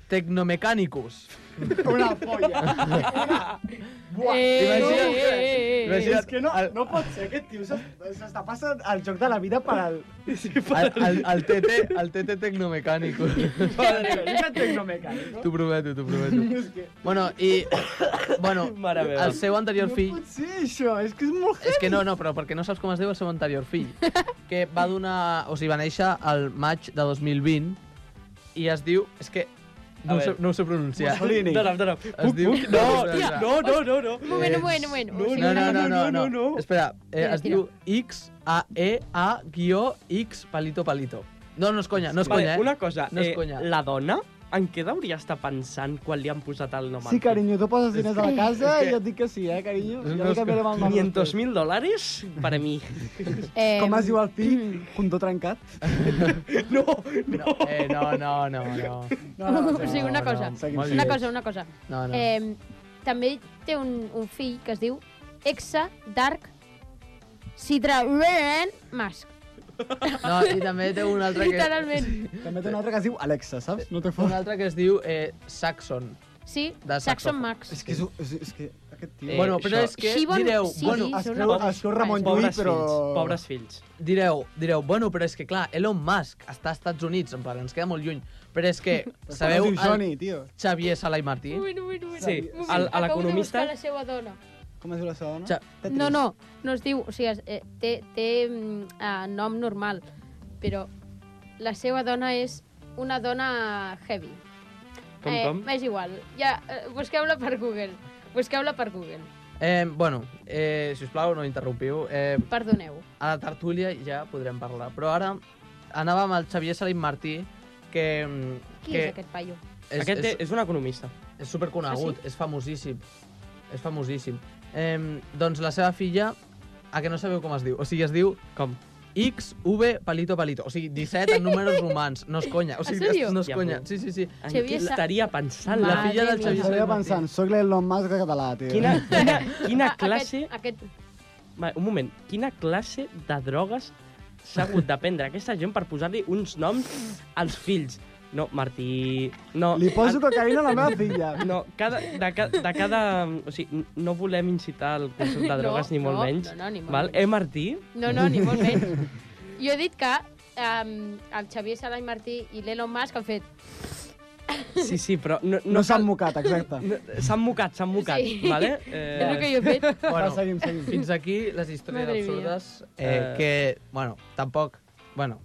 Speaker 7: Tecnomecanicus.
Speaker 6: Una polla.
Speaker 7: imagina't-
Speaker 4: eh,
Speaker 7: imagina't-
Speaker 6: És que no, no pot ser, aquest tio s'es- s'està passant el joc de la vida per al...
Speaker 7: El, el, el, TT, el TT Tecnomecanicus.
Speaker 6: Mira, tecnomecànic,
Speaker 7: T'ho prometo, t'ho prometo.
Speaker 6: És que...
Speaker 7: Bueno, i... Bueno,
Speaker 5: Mare meva.
Speaker 7: el seu anterior
Speaker 6: No
Speaker 7: fill...
Speaker 6: pot ser això, és que és molt
Speaker 7: És que no, no, però perquè no saps com es diu el seu anterior fill. Que va donar... O sigui, va néixer el maig de 2020 i es diu... És que...
Speaker 5: A
Speaker 7: No ho, sé,
Speaker 5: veure.
Speaker 7: no ho sé pronunciar.
Speaker 6: Mussolini.
Speaker 5: Dona'm, dona'm. Puc,
Speaker 7: diu-
Speaker 5: puc? No,
Speaker 7: Hòstia.
Speaker 5: no, no, no, no.
Speaker 4: Un moment, un moment, un moment. O sigui,
Speaker 7: No,
Speaker 4: una
Speaker 7: no,
Speaker 4: cosa-
Speaker 7: no, no, no,
Speaker 5: no.
Speaker 7: Espera, eh,
Speaker 4: Tira,
Speaker 7: es diu X-A-E-A guió X palito palito. No, no és conya, no és
Speaker 5: Vale,
Speaker 7: conya, eh?
Speaker 5: Una cosa,
Speaker 7: No és
Speaker 5: eh,
Speaker 7: conya.
Speaker 5: la dona en què hauria estar pensant quan li han posat el nom?
Speaker 6: Sí, carinyo, tu poses diners a la casa i jo et dic que sí, eh, carinyo? Jo
Speaker 7: És una
Speaker 6: li canviaré el nom.
Speaker 5: 500.000 dòlars per a mi.
Speaker 4: Eh,
Speaker 6: Com es diu el fill? Condó trencat?
Speaker 5: No,
Speaker 7: No, eh, no, no, no, no.
Speaker 6: No, no,
Speaker 4: O sigui, una
Speaker 7: No,
Speaker 4: cosa,
Speaker 7: no,
Speaker 6: seguim,
Speaker 7: molt
Speaker 4: Una
Speaker 7: bé.
Speaker 4: cosa, una cosa.
Speaker 7: No, no.
Speaker 4: Eh, també té un, un fill que es diu Exa Dark Citraven Musk.
Speaker 7: no, i també té un altre que...
Speaker 4: Literalment.
Speaker 6: També té un altre que es diu Alexa, saps? No te
Speaker 7: Un
Speaker 6: fot.
Speaker 7: altre que es diu eh, Saxon.
Speaker 4: Sí,
Speaker 7: De
Speaker 4: Saxon
Speaker 7: saxòfon.
Speaker 4: Max.
Speaker 6: És que, és, és, és que aquest tio...
Speaker 7: Eh,
Speaker 5: Eh,
Speaker 7: bueno, però és
Speaker 5: això.
Speaker 7: que
Speaker 4: Shibon
Speaker 7: direu,
Speaker 4: Siri,
Speaker 7: bueno,
Speaker 6: es
Speaker 4: són
Speaker 6: creu-
Speaker 4: una cosa-
Speaker 6: es creu
Speaker 4: Bueno,
Speaker 6: Ramon Llull,
Speaker 5: Pobres
Speaker 6: però...
Speaker 5: fills, pobres fills.
Speaker 7: direu, direu, bueno, però és que clar, Elon Musk està als Estats Units, en plan, ens queda molt lluny, però és que, sabeu,
Speaker 6: Es diu
Speaker 7: el
Speaker 6: Johnny, tio.
Speaker 7: Xavier Sala i Martí?
Speaker 4: Un moment, un moment, un moment.
Speaker 5: Sí,
Speaker 4: Un moment,
Speaker 5: al- a
Speaker 4: acabo de
Speaker 5: l'economista-
Speaker 4: buscar la seva dona.
Speaker 6: Com es diu la seva dona?
Speaker 7: Ja.
Speaker 6: Tetris.
Speaker 4: No, no, no es diu... O sigui, es- eh, té, té mm, eh, nom normal, però la seva dona és una dona heavy.
Speaker 5: Com,
Speaker 4: eh,
Speaker 5: com?
Speaker 4: És igual. Ja, eh, busqueu-la per Google. Busqueu-la per Google.
Speaker 7: Eh, bueno, eh, si us plau, no interrompiu. Eh,
Speaker 4: Perdoneu.
Speaker 7: a la tertúlia ja podrem parlar, però ara anava amb el Xavier Sala i Martí, que... mm,
Speaker 4: Qui
Speaker 7: que
Speaker 4: és aquest paio?
Speaker 7: És,
Speaker 5: Aquest
Speaker 7: és,
Speaker 5: és, és un economista.
Speaker 7: És superconegut, ah, sí? és famosíssim. És famosíssim. Eh, doncs la seva filla, a que no sabeu com es diu, o sigui, es diu
Speaker 5: Com?
Speaker 7: XV palito palito, o sigui, 17 en números romans, no és conya. O sigui,
Speaker 4: En sèrio?
Speaker 7: No és
Speaker 5: Ja,
Speaker 7: conya,
Speaker 5: però-
Speaker 7: sí, sí, sí.
Speaker 5: En
Speaker 4: Xavier
Speaker 5: qui
Speaker 4: Sa-
Speaker 5: estaria pensant?
Speaker 7: La
Speaker 4: Madre
Speaker 7: filla del
Speaker 4: mía.
Speaker 7: Xavier Sala
Speaker 6: Estaria
Speaker 7: i Martí.
Speaker 6: pensant, soc l'Elon Musk de català, tio.
Speaker 5: Quina, quina, quina
Speaker 4: Ah,
Speaker 5: classe...
Speaker 4: Aquest, aquest...
Speaker 5: Va, Un moment, quina classe de drogues s'ha hagut de prendre aquesta gent per posar-li uns noms als fills? No, Martí... No,
Speaker 6: Li poso cocaïna a la meva filla.
Speaker 5: No, cada, de, ca, de cada... O sigui, no volem incitar al consum de drogues, ni molt
Speaker 4: no,
Speaker 5: menys.
Speaker 4: No, no, ni molt
Speaker 5: Val?
Speaker 4: menys.
Speaker 5: Eh, Martí?
Speaker 4: No, no, ni molt menys. Jo he dit que um, el Xavier Sala i Martí i l'Elon Musk han fet...
Speaker 5: Sí, sí, però... No,
Speaker 6: No s'han mocat, exacte.
Speaker 5: no- S'han mocat, s'han mocat,
Speaker 4: Sí.
Speaker 5: vale? Eh,
Speaker 4: És el que jo he fet.
Speaker 6: Va,
Speaker 7: Bueno,
Speaker 6: seguim, seguim.
Speaker 7: fins aquí les històries
Speaker 4: Madre
Speaker 7: absurdes, eh,
Speaker 5: Eh,
Speaker 7: que, bueno, tampoc... Bueno,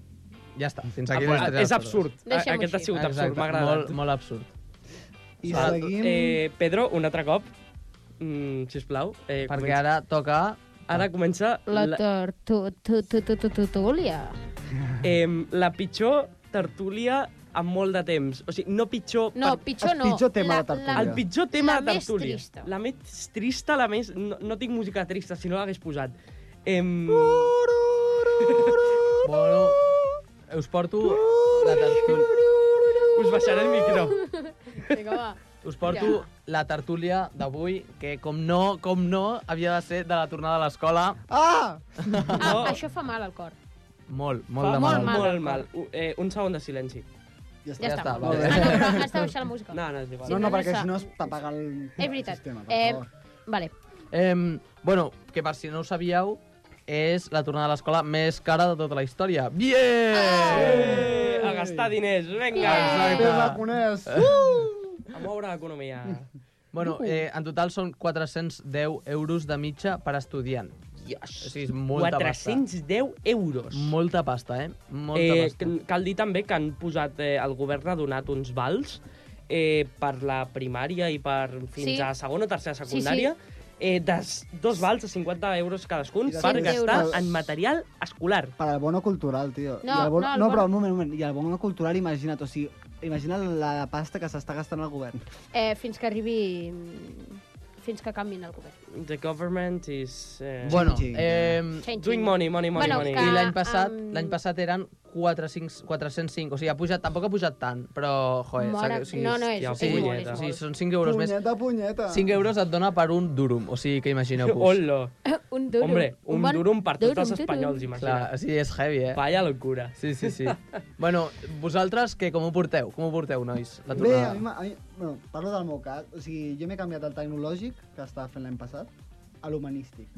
Speaker 7: ja està, fins aquí les
Speaker 5: Ah,
Speaker 7: històries
Speaker 5: és absurd. A-
Speaker 4: Deixem-ho
Speaker 5: Aquest ha
Speaker 4: així.
Speaker 5: sigut absurd,
Speaker 7: Exacte,
Speaker 5: m'ha agradat.
Speaker 7: Molt, molt absurd.
Speaker 6: I
Speaker 7: Ah,
Speaker 6: seguim...
Speaker 5: Eh, Pedro, un altre cop, mm, sisplau. Eh,
Speaker 7: Perquè
Speaker 5: comença-
Speaker 7: ara toca...
Speaker 5: ara comença
Speaker 4: La
Speaker 5: la,
Speaker 4: tortulia.
Speaker 5: eh, la pitjor tertúlia amb molt de temps. O sigui, no pitjor...
Speaker 4: No,
Speaker 5: per-
Speaker 4: pitjor
Speaker 6: el
Speaker 4: no.
Speaker 6: pitjor tema de tertúlia.
Speaker 5: el pitjor tema
Speaker 4: la
Speaker 5: de tertúlia.
Speaker 4: Més trista.
Speaker 5: La més trista, la més... No, no tinc música trista, si no l'hagués posat. Em...
Speaker 7: Uh! Bueno, us porto la tertúlia,
Speaker 5: Us baixaré el micro.
Speaker 4: Vinga, va.
Speaker 7: us porto la tertúlia d'avui, que com no, com no, havia de ser de la tornada a l'escola.
Speaker 6: Ah!
Speaker 4: Ah, això fa mal al cor.
Speaker 7: Molt,
Speaker 5: Fa
Speaker 7: molt de
Speaker 5: molt,
Speaker 7: mal.
Speaker 5: mal. Molt mal. U- Eh, un segon de silenci.
Speaker 4: Ja,
Speaker 6: Ja està.
Speaker 7: Ja
Speaker 4: està.
Speaker 7: està,
Speaker 4: molt bé.
Speaker 7: vale.
Speaker 4: Ah, no, però has de baixar la música.
Speaker 5: No, no, és igual.
Speaker 6: No, no,
Speaker 4: no
Speaker 6: perquè
Speaker 4: s'ha-
Speaker 6: si no es t'apaga el
Speaker 4: És veritat.
Speaker 6: sistema, per
Speaker 4: Eh,
Speaker 6: favor.
Speaker 4: vale.
Speaker 7: Eh, bueno, que per si no ho sabíeu, és la tornada a l'escola més cara de tota la història. Bien!
Speaker 5: Eh, a gastar diners, vinga.
Speaker 7: Exacte.
Speaker 4: eh,
Speaker 6: Té raconès.
Speaker 5: Eh. A moure l'economia.
Speaker 7: Bueno, eh, en total són 410 euros de mitja per estudiant. O sigui, és molta
Speaker 5: 410 euros.
Speaker 7: pasta. Molta pasta, eh? Molta
Speaker 5: eh,
Speaker 7: pasta.
Speaker 5: que- cal dir també que han posat, eh, el govern ha donat uns vals eh, per la primària i per fins
Speaker 4: Sí.
Speaker 5: a segona o tercera
Speaker 4: sí.
Speaker 5: secundària. Eh, des, dos vals de 50 euros cadascun
Speaker 6: I de
Speaker 5: per
Speaker 4: cent
Speaker 5: gastar
Speaker 4: euros.
Speaker 5: en material escolar.
Speaker 6: Per al bono cultural, tio.
Speaker 4: No,
Speaker 6: I el
Speaker 4: no,
Speaker 6: bono... no,
Speaker 4: el
Speaker 6: no però
Speaker 4: bono-
Speaker 6: un moment, un moment. I el bono cultural, imagina't, o sigui, imagina la pasta que s'està gastant el govern.
Speaker 4: Eh, fins que arribi... mm, Fins que canvin el govern.
Speaker 5: The government is... Eh,
Speaker 7: Bueno,
Speaker 6: Changing.
Speaker 7: eh,
Speaker 4: Changing.
Speaker 5: Doing money, money, money,
Speaker 4: Bueno,
Speaker 5: money.
Speaker 4: que-
Speaker 7: i l'any passat,
Speaker 4: amb-
Speaker 7: l'any passat eren 4, 5, 405, o sigui, ha pujat, tampoc ha pujat tant, però, joder,
Speaker 4: Mora...
Speaker 7: o sigui,
Speaker 4: No, no, és,
Speaker 5: hòstia,
Speaker 4: és molt, és
Speaker 5: punyeta.
Speaker 7: o sigui,
Speaker 4: molt.
Speaker 7: són 5 euros més.
Speaker 6: punyeta, punyeta.
Speaker 7: 5 euros et dona per un durum, o sigui, que imagineu-vos.
Speaker 5: Hola.
Speaker 4: Un duro.
Speaker 5: Hombre, un,
Speaker 4: bon
Speaker 5: durum per tots els
Speaker 4: durum.
Speaker 5: espanyols,
Speaker 7: Clar,
Speaker 5: imagina't.
Speaker 7: o sigui, és heavy, eh?
Speaker 5: Vaya locura.
Speaker 7: Sí, sí, sí. bueno, vosaltres, que com ho porteu? Com ho porteu, nois? La
Speaker 6: Bé, a mi,
Speaker 7: tornada.
Speaker 6: m'a- a mi, bueno, parlo del meu cas. O sigui, jo m'he canviat del tecnològic que estava fent l'any passat a l'humanístic.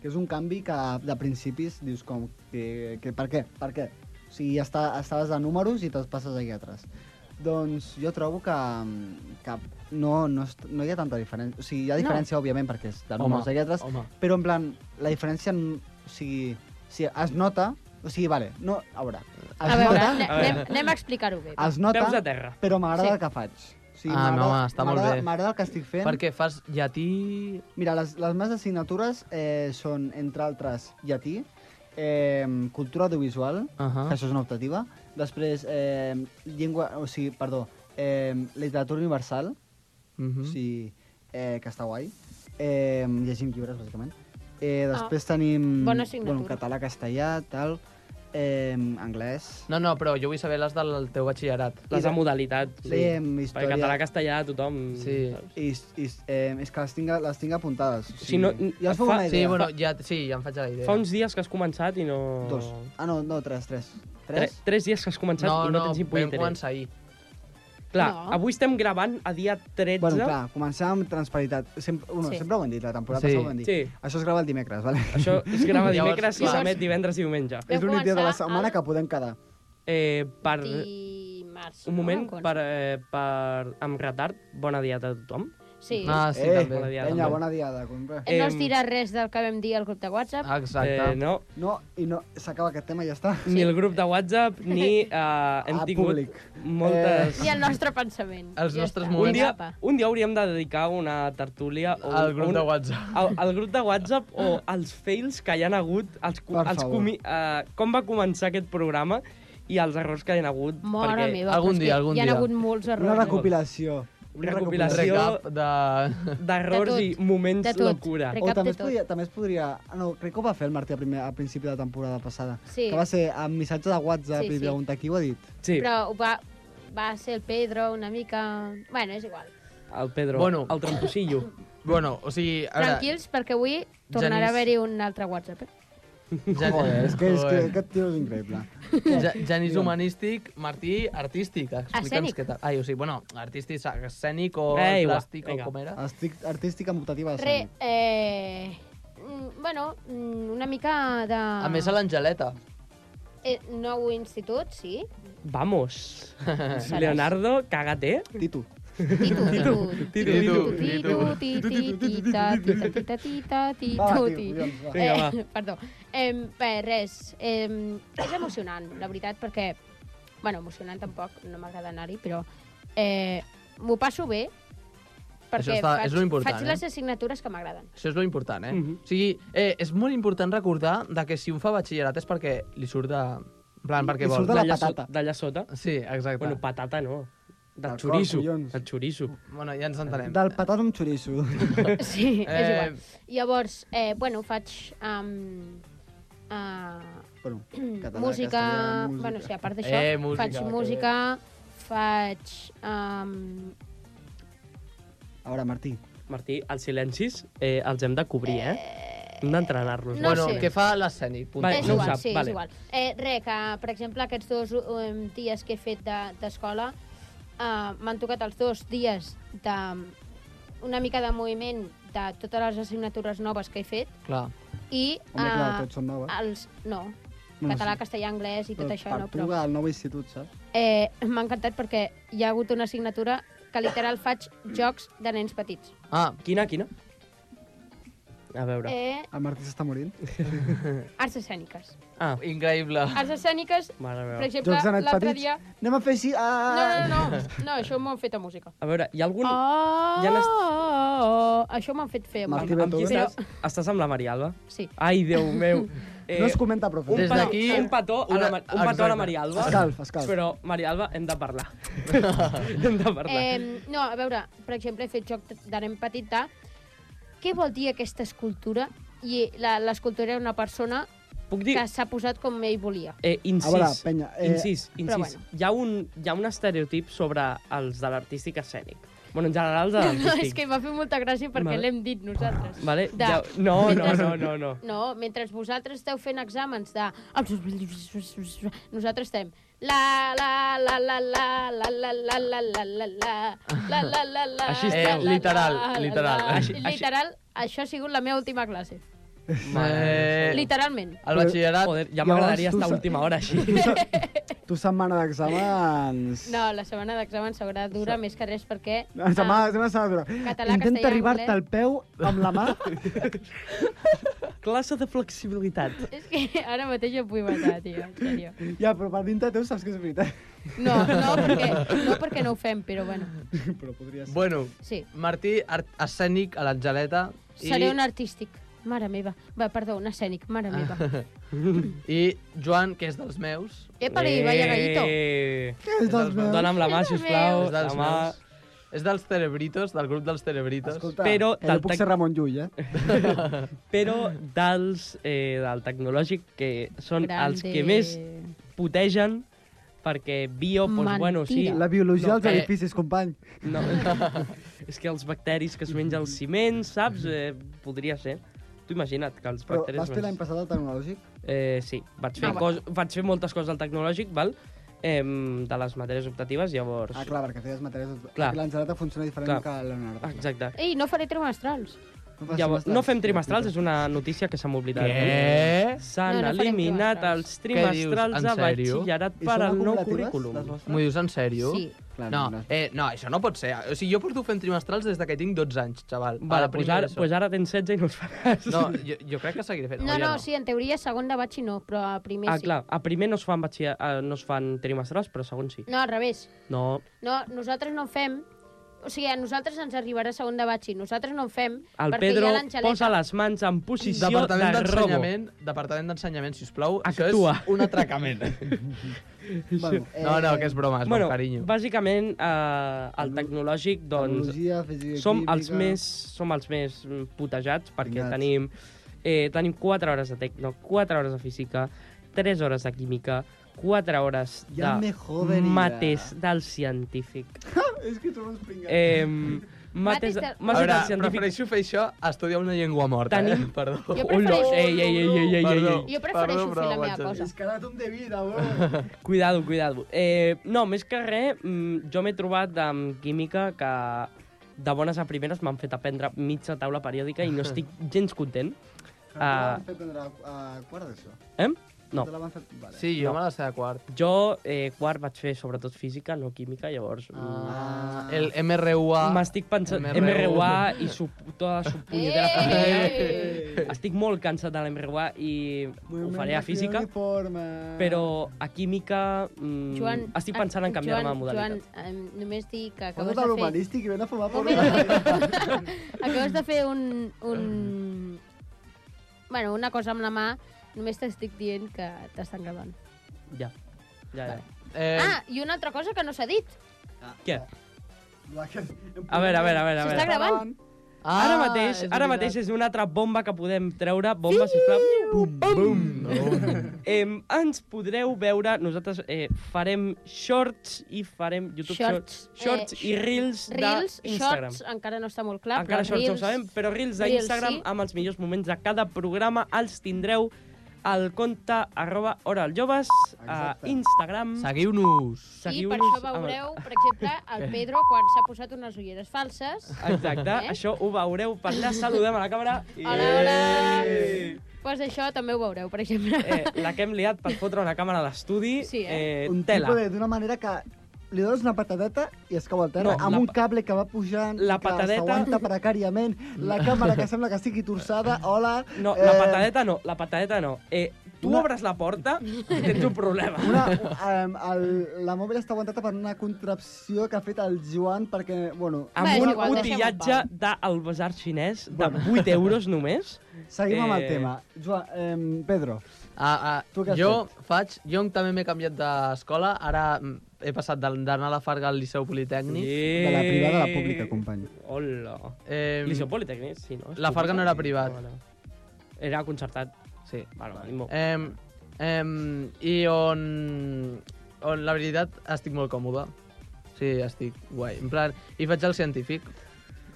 Speaker 6: Que és un canvi que de principis dius com... Que, que, per què? Per què? O sigui, està, estaves a números i te'ls passes a lletres. Doncs jo trobo que, que no, no, est- no hi ha tanta diferència. O sigui, hi ha
Speaker 4: No.
Speaker 6: diferència, òbviament, perquè és de
Speaker 7: Home,
Speaker 6: números a lletres,
Speaker 7: home.
Speaker 6: però en plan, la diferència... n- O sigui, si es nota... O sigui, vale, no... A veure, es
Speaker 4: A veure,
Speaker 6: nota,
Speaker 4: ane- anem, anem a explicar-ho bé.
Speaker 6: es nota
Speaker 5: Peus a terra.
Speaker 6: però m'agrada
Speaker 4: Sí.
Speaker 6: el que faig. O sigui,
Speaker 7: Ah,
Speaker 6: m'agrada-
Speaker 7: no, està molt
Speaker 6: m'agrada-
Speaker 7: bé.
Speaker 6: M'agrada el que estic fent.
Speaker 7: Perquè fas llatí...
Speaker 6: Mira, les, les meves assignatures eh, són, entre altres, llatí, eh, cultura audiovisual,
Speaker 7: Ahà.
Speaker 6: que això és una optativa, després, eh, llengua, o sigui, perdó, eh, literatura universal,
Speaker 7: Mhm.
Speaker 6: o sigui, eh, que està guai, eh, llegim llibres, bàsicament. Eh, després tenim...
Speaker 4: bona assignatura.
Speaker 6: Bueno, català, castellà, tal, eh, anglès...
Speaker 7: No, no, però jo vull saber les del teu batxillerat.
Speaker 5: Les de modalitat.
Speaker 6: Sí, eh, història...
Speaker 5: Perquè català, castellà, tothom...
Speaker 7: Sí.
Speaker 5: saps?
Speaker 6: I, i, eh, és que les tinc, les tinc apuntades. O sigui,
Speaker 5: no-
Speaker 6: ja us fa
Speaker 5: fa-
Speaker 6: una idea.
Speaker 7: Sí, bueno, ja, sí, ja em faig la idea.
Speaker 5: Fa uns dies que has començat i no...
Speaker 6: Dos. Ah, no, no, tres, tres.
Speaker 5: Tre,
Speaker 6: Tres?
Speaker 5: tres dies que has començat
Speaker 7: No,
Speaker 5: i no,
Speaker 7: no,
Speaker 5: tens ni puta
Speaker 7: vam
Speaker 5: idea.
Speaker 7: començar ahir.
Speaker 5: Clar,
Speaker 4: No.
Speaker 5: avui estem gravant a dia 13.
Speaker 6: Bueno, clar, començar amb transperitat. Sempre, bueno,
Speaker 4: Sí.
Speaker 6: sempre ho hem dit, la temporada
Speaker 7: Sí.
Speaker 6: passada ho hem dit.
Speaker 5: Sí.
Speaker 6: Això es grava el dimecres, vale?
Speaker 5: Això es grava
Speaker 7: Llavors,
Speaker 5: dimecres i
Speaker 7: clar.
Speaker 5: s'emet divendres i diumenge.
Speaker 4: Vam
Speaker 6: és l'únic dia de la
Speaker 4: començar
Speaker 6: setmana
Speaker 4: el-
Speaker 6: que podem quedar.
Speaker 5: Eh, per,
Speaker 4: Dimarts.
Speaker 5: un moment,
Speaker 4: no? Em
Speaker 5: per, eh, per, amb retard, bona dieta a tothom.
Speaker 4: consta. Sí.
Speaker 7: Ah, sí,
Speaker 6: eh,
Speaker 7: també.
Speaker 5: bona diada,
Speaker 6: penya,
Speaker 5: també.
Speaker 6: bona diada, compra.
Speaker 4: Eh, no
Speaker 5: em-
Speaker 4: es dirà res del que vam dir al grup de WhatsApp.
Speaker 7: Exacte.
Speaker 5: Eh, no,
Speaker 6: No, i no, s'acaba aquest tema i ja està.
Speaker 5: ni el grup de WhatsApp, ni eh, hem
Speaker 6: A
Speaker 5: tingut
Speaker 6: públic.
Speaker 5: moltes...
Speaker 4: I el nostre pensament.
Speaker 7: Els
Speaker 4: Ja
Speaker 7: nostres
Speaker 4: està.
Speaker 7: moments.
Speaker 5: Un dia,
Speaker 4: Apa.
Speaker 5: un dia hauríem de dedicar una tertúlia o
Speaker 7: Al
Speaker 5: un-
Speaker 7: grup
Speaker 5: un,
Speaker 7: de WhatsApp.
Speaker 5: Al, al grup de WhatsApp o als fails que hi han hagut, els, co-
Speaker 6: Per
Speaker 5: els
Speaker 6: favor.
Speaker 5: comi, eh, com va començar aquest programa i els errors que hi han hagut.
Speaker 4: Mora
Speaker 5: perquè
Speaker 4: meva,
Speaker 7: algun
Speaker 4: però és
Speaker 7: dia,
Speaker 4: que
Speaker 7: algun
Speaker 4: hi ha
Speaker 7: dia.
Speaker 4: hagut molts errors.
Speaker 6: Una recopilació. Una
Speaker 5: Recopilació.
Speaker 7: Recap de...
Speaker 5: D'errors
Speaker 4: De
Speaker 5: i
Speaker 4: tot.
Speaker 5: moments
Speaker 4: De tot.
Speaker 5: locura.
Speaker 4: Re-
Speaker 6: O
Speaker 4: Recap
Speaker 6: també
Speaker 4: de
Speaker 6: es,
Speaker 4: tot.
Speaker 6: podria, també es podria... ah, No, crec que ho va fer el Martí a, primer, a principi de la temporada passada.
Speaker 4: Sí.
Speaker 6: Que va ser amb missatge de WhatsApp
Speaker 4: Sí, sí.
Speaker 6: i preguntar qui ho ha dit.
Speaker 5: Sí,
Speaker 4: Però ho va, va ser el Pedro una mica... Bueno, és igual.
Speaker 5: el Pedro,
Speaker 7: Bueno.
Speaker 5: el tramposillo.
Speaker 7: Bueno, o sigui... ara-
Speaker 4: Tranquils, perquè avui tornarà a
Speaker 7: Genís-
Speaker 4: haver-hi un altre WhatsApp. Eh?
Speaker 7: Jan-
Speaker 6: Joder, és que, és que
Speaker 7: Joder.
Speaker 6: aquest tio és increïble.
Speaker 7: Ja, Janis humanístic, Martí artístic. Explica'ns
Speaker 4: Escènic.
Speaker 7: què tal. Ai, o sigui, bueno, artístic, escènic o
Speaker 5: Eh, igual,
Speaker 7: plàstic
Speaker 5: vinga.
Speaker 7: o com era.
Speaker 6: Estic artística mutativa de
Speaker 4: Re,
Speaker 6: sang.
Speaker 4: eh... mm, Bueno, mm, una mica de...
Speaker 7: A més, a l'Angeleta.
Speaker 4: Eh, nou institut, sí.
Speaker 5: Vamos. Leonardo, cagate.
Speaker 6: Titu.
Speaker 4: Titu, titu.
Speaker 5: Titu,
Speaker 4: titu, titu, titu, tita, tita, tita, tita,
Speaker 6: Va,
Speaker 4: titu,
Speaker 6: tio,
Speaker 4: titu.
Speaker 6: collons, va.
Speaker 5: Vinga, va.
Speaker 4: Eh, perdó. Eh, bé, res. Eh, és emocionant, la veritat, perquè... Bueno, emocionant tampoc, no m'agrada anar-hi, però... Eh, M'ho passo bé, perquè
Speaker 7: està-
Speaker 4: faig,
Speaker 7: és lo important,
Speaker 4: faig
Speaker 7: eh?
Speaker 4: les assignatures que m'agraden.
Speaker 7: Això és lo important, eh?
Speaker 5: Mhm.
Speaker 7: O sigui, eh, és molt important recordar de que si un fa batxillerat és perquè li surt de En plan, perquè
Speaker 6: I
Speaker 7: vol.
Speaker 6: surt de la
Speaker 5: D'allà so-
Speaker 6: patata.
Speaker 5: D'allà sota.
Speaker 7: Sí, exacte.
Speaker 5: Bueno, patata no. Del
Speaker 6: Del
Speaker 5: xoriço.
Speaker 6: cor, collons.
Speaker 5: Del xoriço.
Speaker 7: bueno ja ens entenem.
Speaker 6: Del patat amb xoriço.
Speaker 4: Sí, eh... és
Speaker 7: Eh,
Speaker 4: igual. Llavors, eh, bueno, faig... Um, uh,
Speaker 6: bueno, català,
Speaker 4: música,
Speaker 6: castellà, música...
Speaker 4: Bueno, sí, a part d'això,
Speaker 7: Eh,
Speaker 4: eh,
Speaker 7: música,
Speaker 4: faig
Speaker 7: que
Speaker 4: música, faig... Um,
Speaker 6: A veure, Martí,
Speaker 5: Martí, els silencis eh, els hem de cobrir, eh? Hem eh? d'entrenar-los.
Speaker 4: No
Speaker 7: bueno,
Speaker 4: sé.
Speaker 7: què fa l'escènic?
Speaker 5: Va,
Speaker 7: Vale,
Speaker 4: és
Speaker 5: no ho
Speaker 4: igual,
Speaker 5: sap,
Speaker 4: sí,
Speaker 5: vale.
Speaker 4: és igual. Eh, re, que, per exemple, aquests dos um, dies que he fet de- d'escola, de, uh, m'han tocat els dos dies de mm, una mica de moviment de totes les assignatures noves que he fet
Speaker 7: Clar.
Speaker 4: i...
Speaker 6: home, clar,
Speaker 4: eh,
Speaker 6: tots són noves.
Speaker 4: els, no,
Speaker 6: No,
Speaker 4: català,
Speaker 6: sí.
Speaker 4: castellà, anglès i tot
Speaker 6: Però
Speaker 4: això,
Speaker 6: per
Speaker 4: no,
Speaker 6: tu,
Speaker 4: però...
Speaker 6: al nou institut, saps?
Speaker 4: Eh, M'ha encantat perquè hi ha hagut una assignatura que literal faig jocs de nens petits.
Speaker 7: Ah,
Speaker 5: Quina, quina? A veure.
Speaker 4: Eh,
Speaker 6: El Martí s'està morint.
Speaker 4: arts escèniques.
Speaker 5: Ah,
Speaker 7: increïble.
Speaker 4: Arts escèniques,
Speaker 5: mare
Speaker 4: per
Speaker 5: meva.
Speaker 4: exemple,
Speaker 6: Jocs de nens
Speaker 4: l'altre
Speaker 6: petits.
Speaker 4: dia...
Speaker 6: Anem a fer així... Ah,
Speaker 4: No,
Speaker 6: ah, ah.
Speaker 4: no, no, no, no això m'ho han fet a música.
Speaker 5: A veure, hi ha algun...
Speaker 4: Oh,
Speaker 5: ja n'est-
Speaker 4: això m'han fet fer a
Speaker 6: Martí
Speaker 4: música.
Speaker 5: Amb, amb qui
Speaker 6: Beethoven.
Speaker 5: estàs? Estàs amb la Maria Alba?
Speaker 4: Sí.
Speaker 5: Ai, Déu meu. Eh,
Speaker 6: No es comenta, profe.
Speaker 5: un
Speaker 7: Des
Speaker 5: petó,
Speaker 7: d'aquí,
Speaker 5: un petó, a
Speaker 7: una-
Speaker 5: la, Mar- un petó a
Speaker 7: exacte.
Speaker 5: la Maria Alba.
Speaker 6: Escalf, escalf.
Speaker 5: Però, Maria Alba, hem de parlar. hem de parlar.
Speaker 4: Eh, no, a veure, per exemple, he fet joc de- de nen petit de... Què vol dir aquesta escultura? I la- l'escultura era una persona
Speaker 5: Puc dir...
Speaker 4: que s'ha posat com ell volia.
Speaker 5: Eh, incís,
Speaker 6: A veure, penya, eh,
Speaker 5: incís, incís.
Speaker 4: però bueno.
Speaker 5: Hi, ha un, hi ha un estereotip sobre els de l'artístic escènic. Bueno, en general, els de
Speaker 4: No,
Speaker 5: l'artístic.
Speaker 4: és que m'ha fet molta gràcia perquè
Speaker 5: Ah, Vale.
Speaker 4: l'hem dit nosaltres.
Speaker 5: Vale?
Speaker 4: De-
Speaker 5: Ja, no, no,
Speaker 4: mentre-
Speaker 5: no, no, no.
Speaker 4: No, mentre vosaltres esteu fent exàmens de... Nosaltres estem... La, la, la, la, la, la, la, la, la, la, la, la, la, la, la, la...
Speaker 5: Així
Speaker 4: la,
Speaker 5: esteu.
Speaker 4: la,
Speaker 7: Literal,
Speaker 4: la, la,
Speaker 7: literal.
Speaker 4: la.
Speaker 5: Així- així-
Speaker 4: Literal, això ha sigut la meva última classe.
Speaker 7: Eh,
Speaker 4: Literalment.
Speaker 7: el batxillerat...
Speaker 5: Joder, ja
Speaker 6: Llavors,
Speaker 5: m'agradaria
Speaker 6: tu
Speaker 5: estar a
Speaker 6: sa-
Speaker 5: última hora així.
Speaker 6: Tu, se... tu setmana d'exàmens...
Speaker 4: No, la setmana d'exàmens s'haurà de durar més que res perquè...
Speaker 6: La setmana, setmana, setmana, setmana.
Speaker 4: Ah. Català,
Speaker 6: Intenta
Speaker 4: castellà, eh?
Speaker 6: arribar-te al
Speaker 4: anglès.
Speaker 6: peu amb la mà.
Speaker 5: Classe de flexibilitat.
Speaker 4: ah, És que ara mateix em vull matar, tio, en sèrio.
Speaker 6: ja, però per dintre teu saps que és veritat.
Speaker 4: No, no perquè, no perquè no ho fem, però bueno,
Speaker 6: però podria ser.
Speaker 7: Bueno,
Speaker 4: sí.
Speaker 7: Martí, art escènic a l'Angeleta. i-
Speaker 4: Seré un artístic. Mare meva. Va, perdó, un escènic. Mare meva.
Speaker 7: Ah. I Joan, que és dels meus.
Speaker 4: Epa-li, vaya gallito.
Speaker 5: Eh,
Speaker 6: Què és dels
Speaker 7: Dels-
Speaker 6: meus?
Speaker 5: Dóna'm la mà,
Speaker 4: És dels
Speaker 5: sisplau.
Speaker 7: És dels
Speaker 5: La mà...
Speaker 7: meus. És dels Cerebritos, del grup dels Cerebritos.
Speaker 6: Escolta,
Speaker 5: Però
Speaker 6: que jo
Speaker 5: tal-
Speaker 6: puc ser Ramon Llull, eh?
Speaker 4: Ah.
Speaker 5: Però dels, eh, del tecnològic, que són els que més putegen, perquè bio, doncs, bueno, sí...
Speaker 4: Mentira.
Speaker 6: La biologia
Speaker 5: No,
Speaker 6: dels
Speaker 5: eh,
Speaker 6: edificis, company.
Speaker 5: No, és que els bacteris que es menja el ciment, saps? Eh, podria ser. Tu imagina't que els
Speaker 6: Però
Speaker 5: bacteris... doncs,
Speaker 6: vas fer l'any passat el tecnològic?
Speaker 5: Eh, sí, vaig fer,
Speaker 4: Ah,
Speaker 5: ah, cos, vaig fer moltes coses al tecnològic, val? Eh, de les matèries optatives, llavors...
Speaker 6: Ah, clar, perquè feies matèries...
Speaker 5: Clar.
Speaker 6: L'Angeleta funciona diferent
Speaker 5: Clar.
Speaker 6: que el Leonardo.
Speaker 5: Exacte.
Speaker 4: Ei, no faré trimestrals.
Speaker 6: No, fas
Speaker 5: Llavors, no fem trimestrals,
Speaker 6: trimestrals.
Speaker 5: és una notícia que s'ha oblidat.
Speaker 7: Què?
Speaker 5: S'han
Speaker 4: No, no farem
Speaker 5: eliminat
Speaker 4: trimestrals.
Speaker 5: els
Speaker 7: dius?
Speaker 5: trimestrals
Speaker 7: En
Speaker 5: de
Speaker 7: sèrio?
Speaker 5: batxillerat
Speaker 6: I
Speaker 5: per
Speaker 6: són
Speaker 5: al nou
Speaker 6: acumulatives,
Speaker 5: currículum.
Speaker 6: les vostres?
Speaker 7: M'ho dius en sèrio?
Speaker 4: Sí.
Speaker 5: Oh,
Speaker 6: Clar,
Speaker 7: No,
Speaker 6: no.
Speaker 7: eh, no, això no pot ser. O sigui, jo porto fent trimestrals des de que tinc 12 anys, xaval. A
Speaker 5: Vale,
Speaker 7: Ah, la
Speaker 5: pues
Speaker 7: primera
Speaker 5: ara,
Speaker 7: ESO.
Speaker 5: pues ara tens 16 i no els faràs.
Speaker 7: No, jo, jo crec que seguiré fent.
Speaker 4: No,
Speaker 7: o ja
Speaker 4: no, sí, en teoria segon de batxi no, però a primer
Speaker 5: Ah,
Speaker 4: sí.
Speaker 5: clar, a primer no es fan, batxiller... eh, no es fan trimestrals, però segon sí.
Speaker 4: No, al revés.
Speaker 5: No,
Speaker 4: No, nosaltres no en fem... O sigui, a nosaltres ens arribarà segon de batxi. Nosaltres no en fem
Speaker 5: El
Speaker 4: perquè hi
Speaker 5: Pedro
Speaker 4: ha l'Angeleta.
Speaker 5: posa les mans en posició
Speaker 7: Departament
Speaker 5: de robo.
Speaker 7: d'ensenyament, departament d'ensenyament, si us plau,
Speaker 5: Actua.
Speaker 7: això és un atracament.
Speaker 6: Bueno, eh,
Speaker 7: no, no, que és broma, és
Speaker 5: Bueno,
Speaker 7: bon carinyo.
Speaker 5: bàsicament, eh, el tecnològic, doncs,
Speaker 6: Tecnologia, física,
Speaker 5: som els,
Speaker 6: química.
Speaker 5: més, som els més mm, putejats perquè
Speaker 6: Pringats.
Speaker 5: tenim, eh, tenim 4 hores de tecno, 4 hores de física, 3 hores de química, 4 hores de
Speaker 6: Ja me joderia.
Speaker 5: mates del científic.
Speaker 6: És que som uns pringats.
Speaker 5: Eh,
Speaker 4: Mates
Speaker 5: mates,
Speaker 4: del-
Speaker 5: mates,
Speaker 7: A veure,
Speaker 5: del científic.
Speaker 7: prefereixo fer això a estudiar una llengua morta,
Speaker 5: Tenim-
Speaker 7: eh? Perdó.
Speaker 4: Jo
Speaker 5: Ui, no,
Speaker 4: prefereixo-
Speaker 5: ei, ei, ei, ei, ei, ei,
Speaker 7: Perdó.
Speaker 5: ei.
Speaker 4: Jo prefereixo
Speaker 7: Perdó,
Speaker 4: fer la
Speaker 7: però
Speaker 4: meva
Speaker 7: vaig a-
Speaker 4: cosa.
Speaker 6: És que ara tu em de vida, bro.
Speaker 5: Cuidado, cuidado. Eh, no, més que res, mm, jo m'he trobat amb química que de bones a primeres m'han fet aprendre mitja taula periòdica i no estic gens content.
Speaker 6: Ah.
Speaker 5: Ah.
Speaker 6: Te l'han fet prendre a, a quart d'això.
Speaker 5: Eh? No.
Speaker 6: Te la van fer... Vale.
Speaker 7: Sí, jo me la sé de quart.
Speaker 5: Jo, eh, quart, vaig fer sobretot física, no química, llavors... Ah.
Speaker 6: Ah.
Speaker 7: El MRUA...
Speaker 5: M'estic pensant...
Speaker 7: MRU.
Speaker 5: MRUA i sub, tota la
Speaker 4: Eh!
Speaker 5: subpunyetera família.
Speaker 4: Ei!
Speaker 5: Estic molt cansat de la MRUA i ho faré a física, però a química... Mm,
Speaker 4: Joan, ah,
Speaker 5: estic pensant en canviar-me de
Speaker 4: Joan,
Speaker 5: modalitat.
Speaker 4: Joan, em, només dir que
Speaker 6: Quan
Speaker 4: acabes
Speaker 6: és
Speaker 4: de fer...
Speaker 6: l'humanístic i ven a fumar
Speaker 4: Un
Speaker 6: pobre.
Speaker 4: moment. Acabes de fer un... un... Bueno, una cosa amb la mà, només t'estic dient que t'estan gravant.
Speaker 5: Ja. Ja, ja.
Speaker 7: Eh,
Speaker 4: Ah, i una altra cosa que no s'ha dit.
Speaker 5: Què?
Speaker 6: A
Speaker 5: A veure, a veure, a veure. A
Speaker 4: S'està
Speaker 5: veure.
Speaker 4: gravant.
Speaker 7: ah,
Speaker 5: ara mateix,
Speaker 7: és
Speaker 5: ara
Speaker 7: veritat.
Speaker 5: mateix és una altra bomba que podem treure. Bomba, sisplau. Bum, bum. Em, ens podreu veure, nosaltres eh, farem shorts i farem YouTube shorts,
Speaker 4: Shorts,
Speaker 5: shorts
Speaker 4: eh,
Speaker 5: i reels
Speaker 4: Reels,
Speaker 5: d'Instagram.
Speaker 4: shorts, encara no està molt clar,
Speaker 5: Encara
Speaker 4: però
Speaker 5: això no ho
Speaker 4: reels...
Speaker 5: sabem, però Reels
Speaker 4: Reels,
Speaker 5: d'Instagram
Speaker 4: sí.
Speaker 5: amb els millors moments de cada programa els tindreu al compte arroba hora als joves a
Speaker 6: Exacte.
Speaker 5: Instagram.
Speaker 7: Seguiu-nos.
Speaker 4: I per
Speaker 5: Seguiu-nos
Speaker 4: això
Speaker 5: amb el-
Speaker 4: veureu, per exemple, el Pedro quan s'ha posat unes ulleres falses.
Speaker 5: Exacte,
Speaker 4: Eh?
Speaker 5: això ho veureu per allà. Saludem a la càmera.
Speaker 4: Hola, hola! Pues això també ho veureu, per exemple.
Speaker 5: Eh, la que hem liat per fotre una càmera a l'estudi.
Speaker 4: Sí, eh?
Speaker 5: eh
Speaker 6: Un
Speaker 5: tela.
Speaker 6: tipo de- d'una manera que li dones una patadeta i es cau al terra
Speaker 5: No,
Speaker 6: no, amb
Speaker 5: la
Speaker 6: un
Speaker 5: pa-
Speaker 6: cable que va pujant,
Speaker 5: la
Speaker 6: que
Speaker 5: patadeta-
Speaker 6: s'aguanta precàriament, la càmera que sembla que estigui torçada, hola... eh,
Speaker 5: No, la patadeta no, la patadeta no. Eh, tu
Speaker 6: Una-
Speaker 5: obres la porta i tens un problema.
Speaker 6: Una, um, el, la mòbil està aguantada per una contrapció que ha fet el Joan perquè, bueno,
Speaker 5: Amb
Speaker 4: Bé, és
Speaker 5: un
Speaker 4: igual, deixa'm en
Speaker 5: utillatge
Speaker 4: pau.
Speaker 5: del basar xinès de 8 euros només.
Speaker 6: seguim amb el
Speaker 5: Eh.
Speaker 6: tema. Joan, um, Pedro,
Speaker 7: Ah, ah,
Speaker 6: Tu què has
Speaker 7: jo faig... Jo també m'he canviat d'escola. Ara mm, he passat de- d'anar a la Farga al Liceu Politècnic.
Speaker 6: de la privada a la pública, company.
Speaker 5: Hola.
Speaker 7: Eh,
Speaker 5: Liceu Politécnic, sí, no? És
Speaker 7: La Farga no era privat.
Speaker 5: Vale. Era concertat.
Speaker 7: Sí. Eh.
Speaker 5: Vale, vale. Ningú.
Speaker 7: Em, em, I on, on la veritat estic molt còmode. Sí, estic guai. En plan, i faig el científic.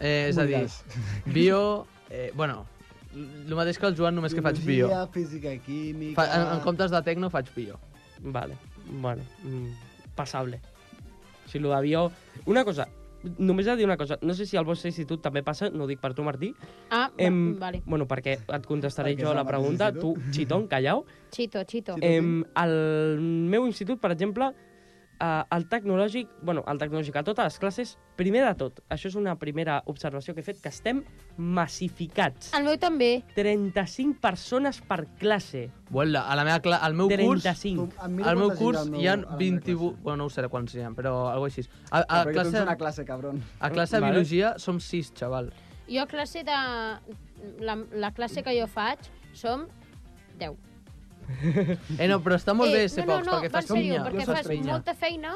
Speaker 7: Eh, és a dir,
Speaker 6: Mulles.
Speaker 7: bio... Eh, bueno, el mateix que el Joan, només que faig bio.
Speaker 6: Biologia, física, química...
Speaker 7: Fa, en, en comptes de tecno faig bio.
Speaker 5: Vale, bueno, mm, passable. Si lo d'avió... Una cosa, només he de dir una cosa. No sé si al vostre institut també passa, no ho dic per tu, Martí.
Speaker 4: Ah, em... vale.
Speaker 5: Bueno, perquè et contestaré
Speaker 6: Perquè
Speaker 5: jo
Speaker 6: és
Speaker 5: la
Speaker 6: el mateix
Speaker 5: pregunta. Tu,
Speaker 6: institut.
Speaker 5: xitón, callau.
Speaker 4: Chito, chito.
Speaker 6: Sí.
Speaker 5: Em, al meu institut, per exemple, eh, el tecnològic, bueno, el tecnològic a totes les classes, primer de tot, això és una primera observació que he fet, que estem massificats.
Speaker 4: El meu també.
Speaker 5: 35 persones per classe.
Speaker 7: Bueno, a la meva cla al meu curs...
Speaker 5: 35.
Speaker 6: Tu- em mira
Speaker 7: Al meu
Speaker 6: quanta gent
Speaker 7: curs
Speaker 6: al meu-
Speaker 7: hi ha
Speaker 6: a la meva
Speaker 7: 28... Bueno, no ho sé quants hi ha, però alguna així. A,
Speaker 6: classe.
Speaker 7: a,
Speaker 6: Perquè tu
Speaker 7: Ah, classe,
Speaker 6: ets una classe, cabron.
Speaker 7: a classe de
Speaker 5: Vale.
Speaker 7: biologia som 6, xaval.
Speaker 4: Jo a classe de... La, la classe que jo faig som 10.
Speaker 7: Eh, no, però està molt bé ser
Speaker 4: no,
Speaker 7: pocs,
Speaker 4: no, va
Speaker 7: perquè
Speaker 4: en
Speaker 7: fas
Speaker 4: sèrio,
Speaker 7: pinya.
Speaker 4: perquè
Speaker 6: Jo
Speaker 4: fas
Speaker 6: faig pinya.
Speaker 4: molta feina,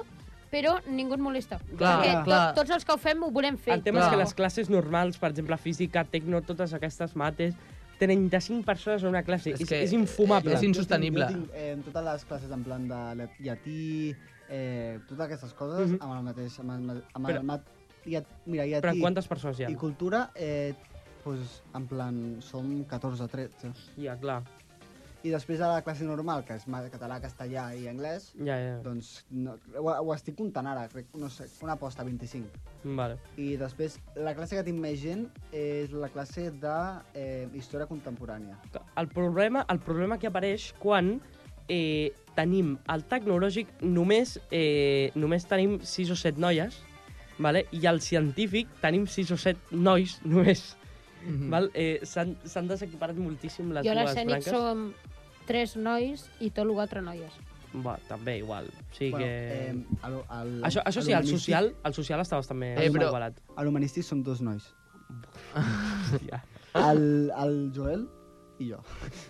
Speaker 4: però ningú et molesta.
Speaker 7: Clar,
Speaker 4: perquè
Speaker 7: clar.
Speaker 4: To, tots els que ho fem ho volem fer.
Speaker 5: El tema és
Speaker 7: clar.
Speaker 5: que les classes normals, per exemple, física, tecno, totes aquestes mates, 35 persones en una classe.
Speaker 7: És
Speaker 5: És, és,
Speaker 7: que-
Speaker 5: és infumable.
Speaker 7: És
Speaker 5: Ah, És,
Speaker 7: insostenible.
Speaker 6: Jo tinc, eh, en totes les classes en plan de llat- llatí, eh, totes aquestes coses,
Speaker 5: Mhm.
Speaker 6: amb el mateix... Amb el, ma- amb
Speaker 5: Però-
Speaker 6: el mat, llat, mira, llatí
Speaker 5: Però en quantes persones hi ha?
Speaker 6: i cultura, eh, pues, en plan, som 14 13.
Speaker 5: Ja, clar.
Speaker 6: I després a la classe normal, que és ma- català, castellà i anglès,
Speaker 5: Ja, ja. ja.
Speaker 6: doncs no, ho, ho estic comptant ara, crec, no sé, una aposta, 25.
Speaker 5: Vale.
Speaker 6: I després, la classe que tinc més gent és la classe de eh, història contemporània.
Speaker 5: El problema, el problema que apareix quan eh, tenim el tecnològic només, eh, només tenim 6 o 7 noies, vale? i el científic tenim 6 o 7 nois només.
Speaker 7: Mhm.
Speaker 5: Mm. Val? Eh, S'han s'han desequiparat moltíssim les
Speaker 4: jo a
Speaker 5: dues
Speaker 4: l'escènic
Speaker 5: branques.
Speaker 4: som tres nois i tot l'altre noies.
Speaker 5: Va, també igual. O sigui
Speaker 6: Bueno,
Speaker 5: que...
Speaker 6: eh, el, el,
Speaker 5: Això, això sí, el
Speaker 6: l'humanístic-
Speaker 5: social, el social està bastant més
Speaker 7: Eh,
Speaker 5: eh,
Speaker 7: però-
Speaker 5: però... igualat.
Speaker 6: A l'humanístic som dos nois.
Speaker 5: Hòstia.
Speaker 7: Ah.
Speaker 6: El, el Joel i jo.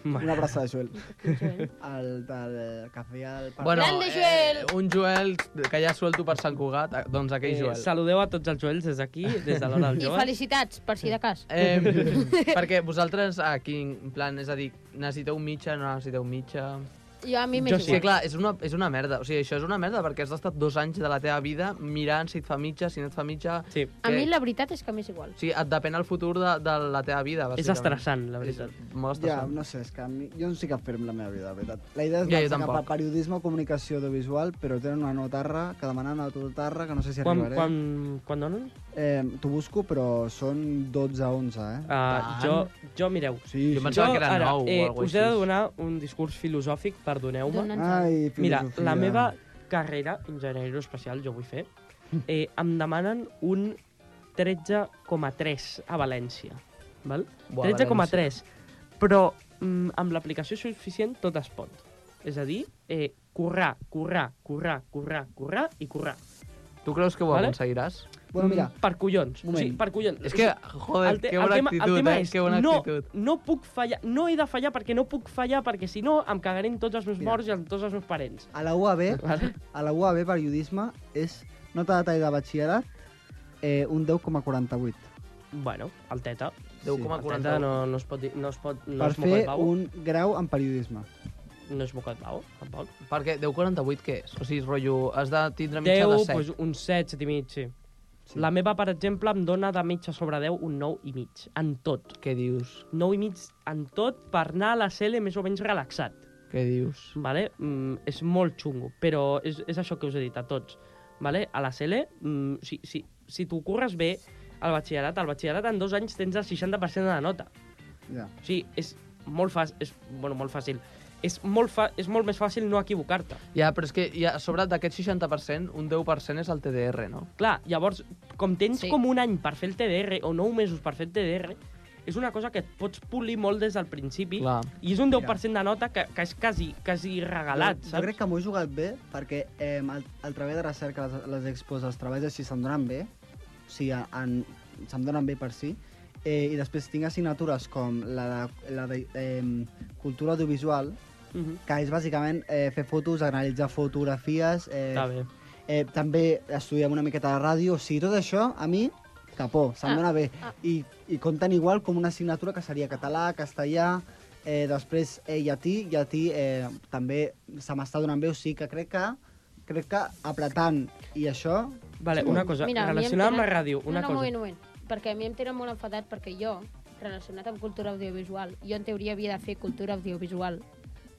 Speaker 5: Mare.
Speaker 6: Una abraçada, Joel.
Speaker 4: Joel.
Speaker 6: El del cafè al parc.
Speaker 7: Bueno,
Speaker 4: Grande,
Speaker 7: eh, un Joel que ja suelto per Sant Cugat, eh, doncs aquell
Speaker 5: Eh,
Speaker 7: Joel.
Speaker 5: saludeu a tots els Joels des d'aquí, des de l'hora del
Speaker 4: I
Speaker 5: jove.
Speaker 4: felicitats, per si de cas.
Speaker 7: Eh, perquè vosaltres aquí, en plan, és a dir, necessiteu mitja, no necessiteu mitja...
Speaker 4: Jo a mi
Speaker 5: Jo
Speaker 4: m'és
Speaker 7: Sí,
Speaker 5: Sí.
Speaker 4: igual.
Speaker 7: clar, és una, és una merda. O sigui, això és una merda perquè has estat dos anys de la teva vida mirant si et fa mitja, si no et fa mitja...
Speaker 5: Sí,
Speaker 4: A mi la veritat és que m'és igual.
Speaker 7: O sigui, et depèn el futur de, de la teva vida,
Speaker 5: és
Speaker 7: bàsicament.
Speaker 5: estressant, la veritat.
Speaker 7: És molt
Speaker 6: Ja,
Speaker 7: estressant.
Speaker 6: no sé, és que a mi, jo no sé què fer amb la meva vida, de veritat. La idea és
Speaker 7: Ja, jo
Speaker 6: ja, cap a
Speaker 7: tampoc.
Speaker 6: periodisme o comunicació audiovisual, però tenen una notarra que demanen a Totarra, que no sé si
Speaker 5: Quan,
Speaker 6: arribaré.
Speaker 5: quan, quan donen?
Speaker 6: Eh, T'ho busco, però són 12 a 11, eh?
Speaker 5: Uh, jo, jo, mireu,
Speaker 6: Sí,
Speaker 7: Ah, Jo
Speaker 6: sí.
Speaker 7: me'n- Pensava que era
Speaker 5: ara,
Speaker 7: nou o
Speaker 5: eh,
Speaker 7: algo
Speaker 5: us he de
Speaker 7: així.
Speaker 5: donar un discurs filosòfic, perdoneu-me.
Speaker 4: Dona'ns
Speaker 6: Ai, filosofia.
Speaker 5: Mira, la meva carrera, enginyeria espacial, jo vull fer, eh, em demanen un 13,3 a València. Val?
Speaker 7: Buah,
Speaker 5: 13,3. Però mm, amb l'aplicació suficient tot es pot. És a dir, eh, currar, currar, currar, currar, currar i currar.
Speaker 7: Tu creus que ho
Speaker 5: Vale.
Speaker 7: aconseguiràs?
Speaker 6: Bueno, mira,
Speaker 5: Mm, Per collons. O
Speaker 6: Moment.
Speaker 5: sigui, per collons.
Speaker 7: És que, joder,
Speaker 5: El te-
Speaker 7: que bona
Speaker 5: el tema- el
Speaker 7: actitud,
Speaker 5: tema
Speaker 7: eh?
Speaker 5: és,
Speaker 7: Que bona
Speaker 5: no,
Speaker 7: actitud.
Speaker 5: No puc fallar, no he de fallar perquè no puc fallar, perquè si no em cagaré en tots els meus
Speaker 6: Mira.
Speaker 5: morts i en tots els meus parents.
Speaker 6: a la UAB,
Speaker 5: Vale?
Speaker 6: a la UAB periodisme és nota de tall de batxillerat eh, un 10,48.
Speaker 5: Bueno, el teta.
Speaker 6: Com
Speaker 5: El
Speaker 7: 10,41.
Speaker 5: teta no, no es pot dir, no es pot, no
Speaker 6: per
Speaker 5: és
Speaker 6: fer
Speaker 5: mocat bau.
Speaker 6: un grau en periodisme.
Speaker 5: No és mocat bau, tampoc.
Speaker 7: Perquè 10,48 què és? O sigui, rotllo, has de tindre mitja
Speaker 5: 10,
Speaker 7: de 7.
Speaker 5: doncs un 7, 7 i mig, sí.
Speaker 6: Sí.
Speaker 5: La meva, per exemple, em dona de mitja sobre 10 un 9 i mig, en tot.
Speaker 7: Què dius?
Speaker 5: 9 i mig en tot per anar a la CL més o menys relaxat.
Speaker 7: Què dius?
Speaker 5: vale? Mm, és molt xungo, però és, és això que us he dit a tots. Vale? A la CL, mm, si, si, si tu curres bé al batxillerat, al batxillerat en dos anys tens el 60% de la nota.
Speaker 6: Ja.
Speaker 5: O sigui, és molt fàcil, és, bueno, molt fàcil. És molt, fa, és molt més fàcil no equivocar-te.
Speaker 7: Ja, però és que ja, a sobre d'aquest 60%, un 10% és el TDR, no?
Speaker 5: Clar, llavors, com tens
Speaker 4: Sí.
Speaker 5: sí. com un any per fer el TDR, o nou mesos per fer el TDR, és una cosa que et pots polir molt des del principi,
Speaker 7: Clar.
Speaker 5: i és un 10% de nota que, que és quasi, quasi regalat,
Speaker 6: jo,
Speaker 5: saps?
Speaker 6: jo crec que m'ho he jugat bé perquè eh, el, el treball de recerca, les, les expos, els treballs així se'm donen bé, o sigui, en, se'm donen bé per si, eh, i després tinc assignatures com la de, la de eh, cultura audiovisual,
Speaker 5: Mhm.
Speaker 6: que és bàsicament eh, fer fotos, analitzar fotografies,
Speaker 5: Està
Speaker 6: eh,
Speaker 5: bé.
Speaker 6: eh, també estudiem una miqueta de ràdio, o sigui, tot això a mi capó, se'm
Speaker 4: Ah,
Speaker 6: dona bé.
Speaker 4: ah.
Speaker 6: I, I compten igual com una assignatura que seria català, castellà, eh, després eh, llatí, llatí eh, també se m'està donant bé, o sigui que crec que crec que apretant i això...
Speaker 5: Vale,
Speaker 6: Sí.
Speaker 5: una cosa,
Speaker 4: a mi em
Speaker 5: relacionada amb la
Speaker 4: tenen-
Speaker 5: ràdio, una
Speaker 4: no, no,
Speaker 5: cosa.
Speaker 4: No, un moment, un moment. Perquè a mi em tenen molt enfadat perquè jo, relacionat amb cultura audiovisual, jo en teoria havia de fer cultura audiovisual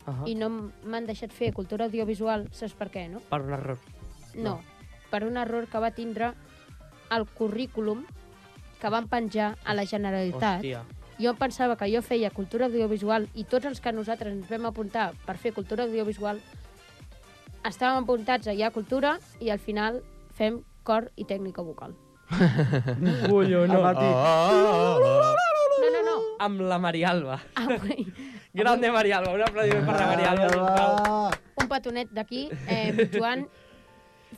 Speaker 5: Ah,
Speaker 4: i no m- m'han deixat fer cultura audiovisual, saps per què, no?
Speaker 5: Per un error.
Speaker 4: No, per un error que va tindre el currículum que van penjar a la Generalitat.
Speaker 5: Hòstia.
Speaker 4: Jo em pensava que jo feia cultura audiovisual i tots els que nosaltres ens vam apuntar per fer cultura audiovisual estàvem apuntats allà a cultura i al final fem cor i tècnica vocal.
Speaker 5: Ullo,
Speaker 6: El Martí,
Speaker 4: No, no, no.
Speaker 5: Amb la Marialba.
Speaker 4: Avui,
Speaker 5: Grande Marialba, un aplaudiment per la Marialba, sisplau.
Speaker 6: va.
Speaker 4: un petonet d'aquí, eh, Joan,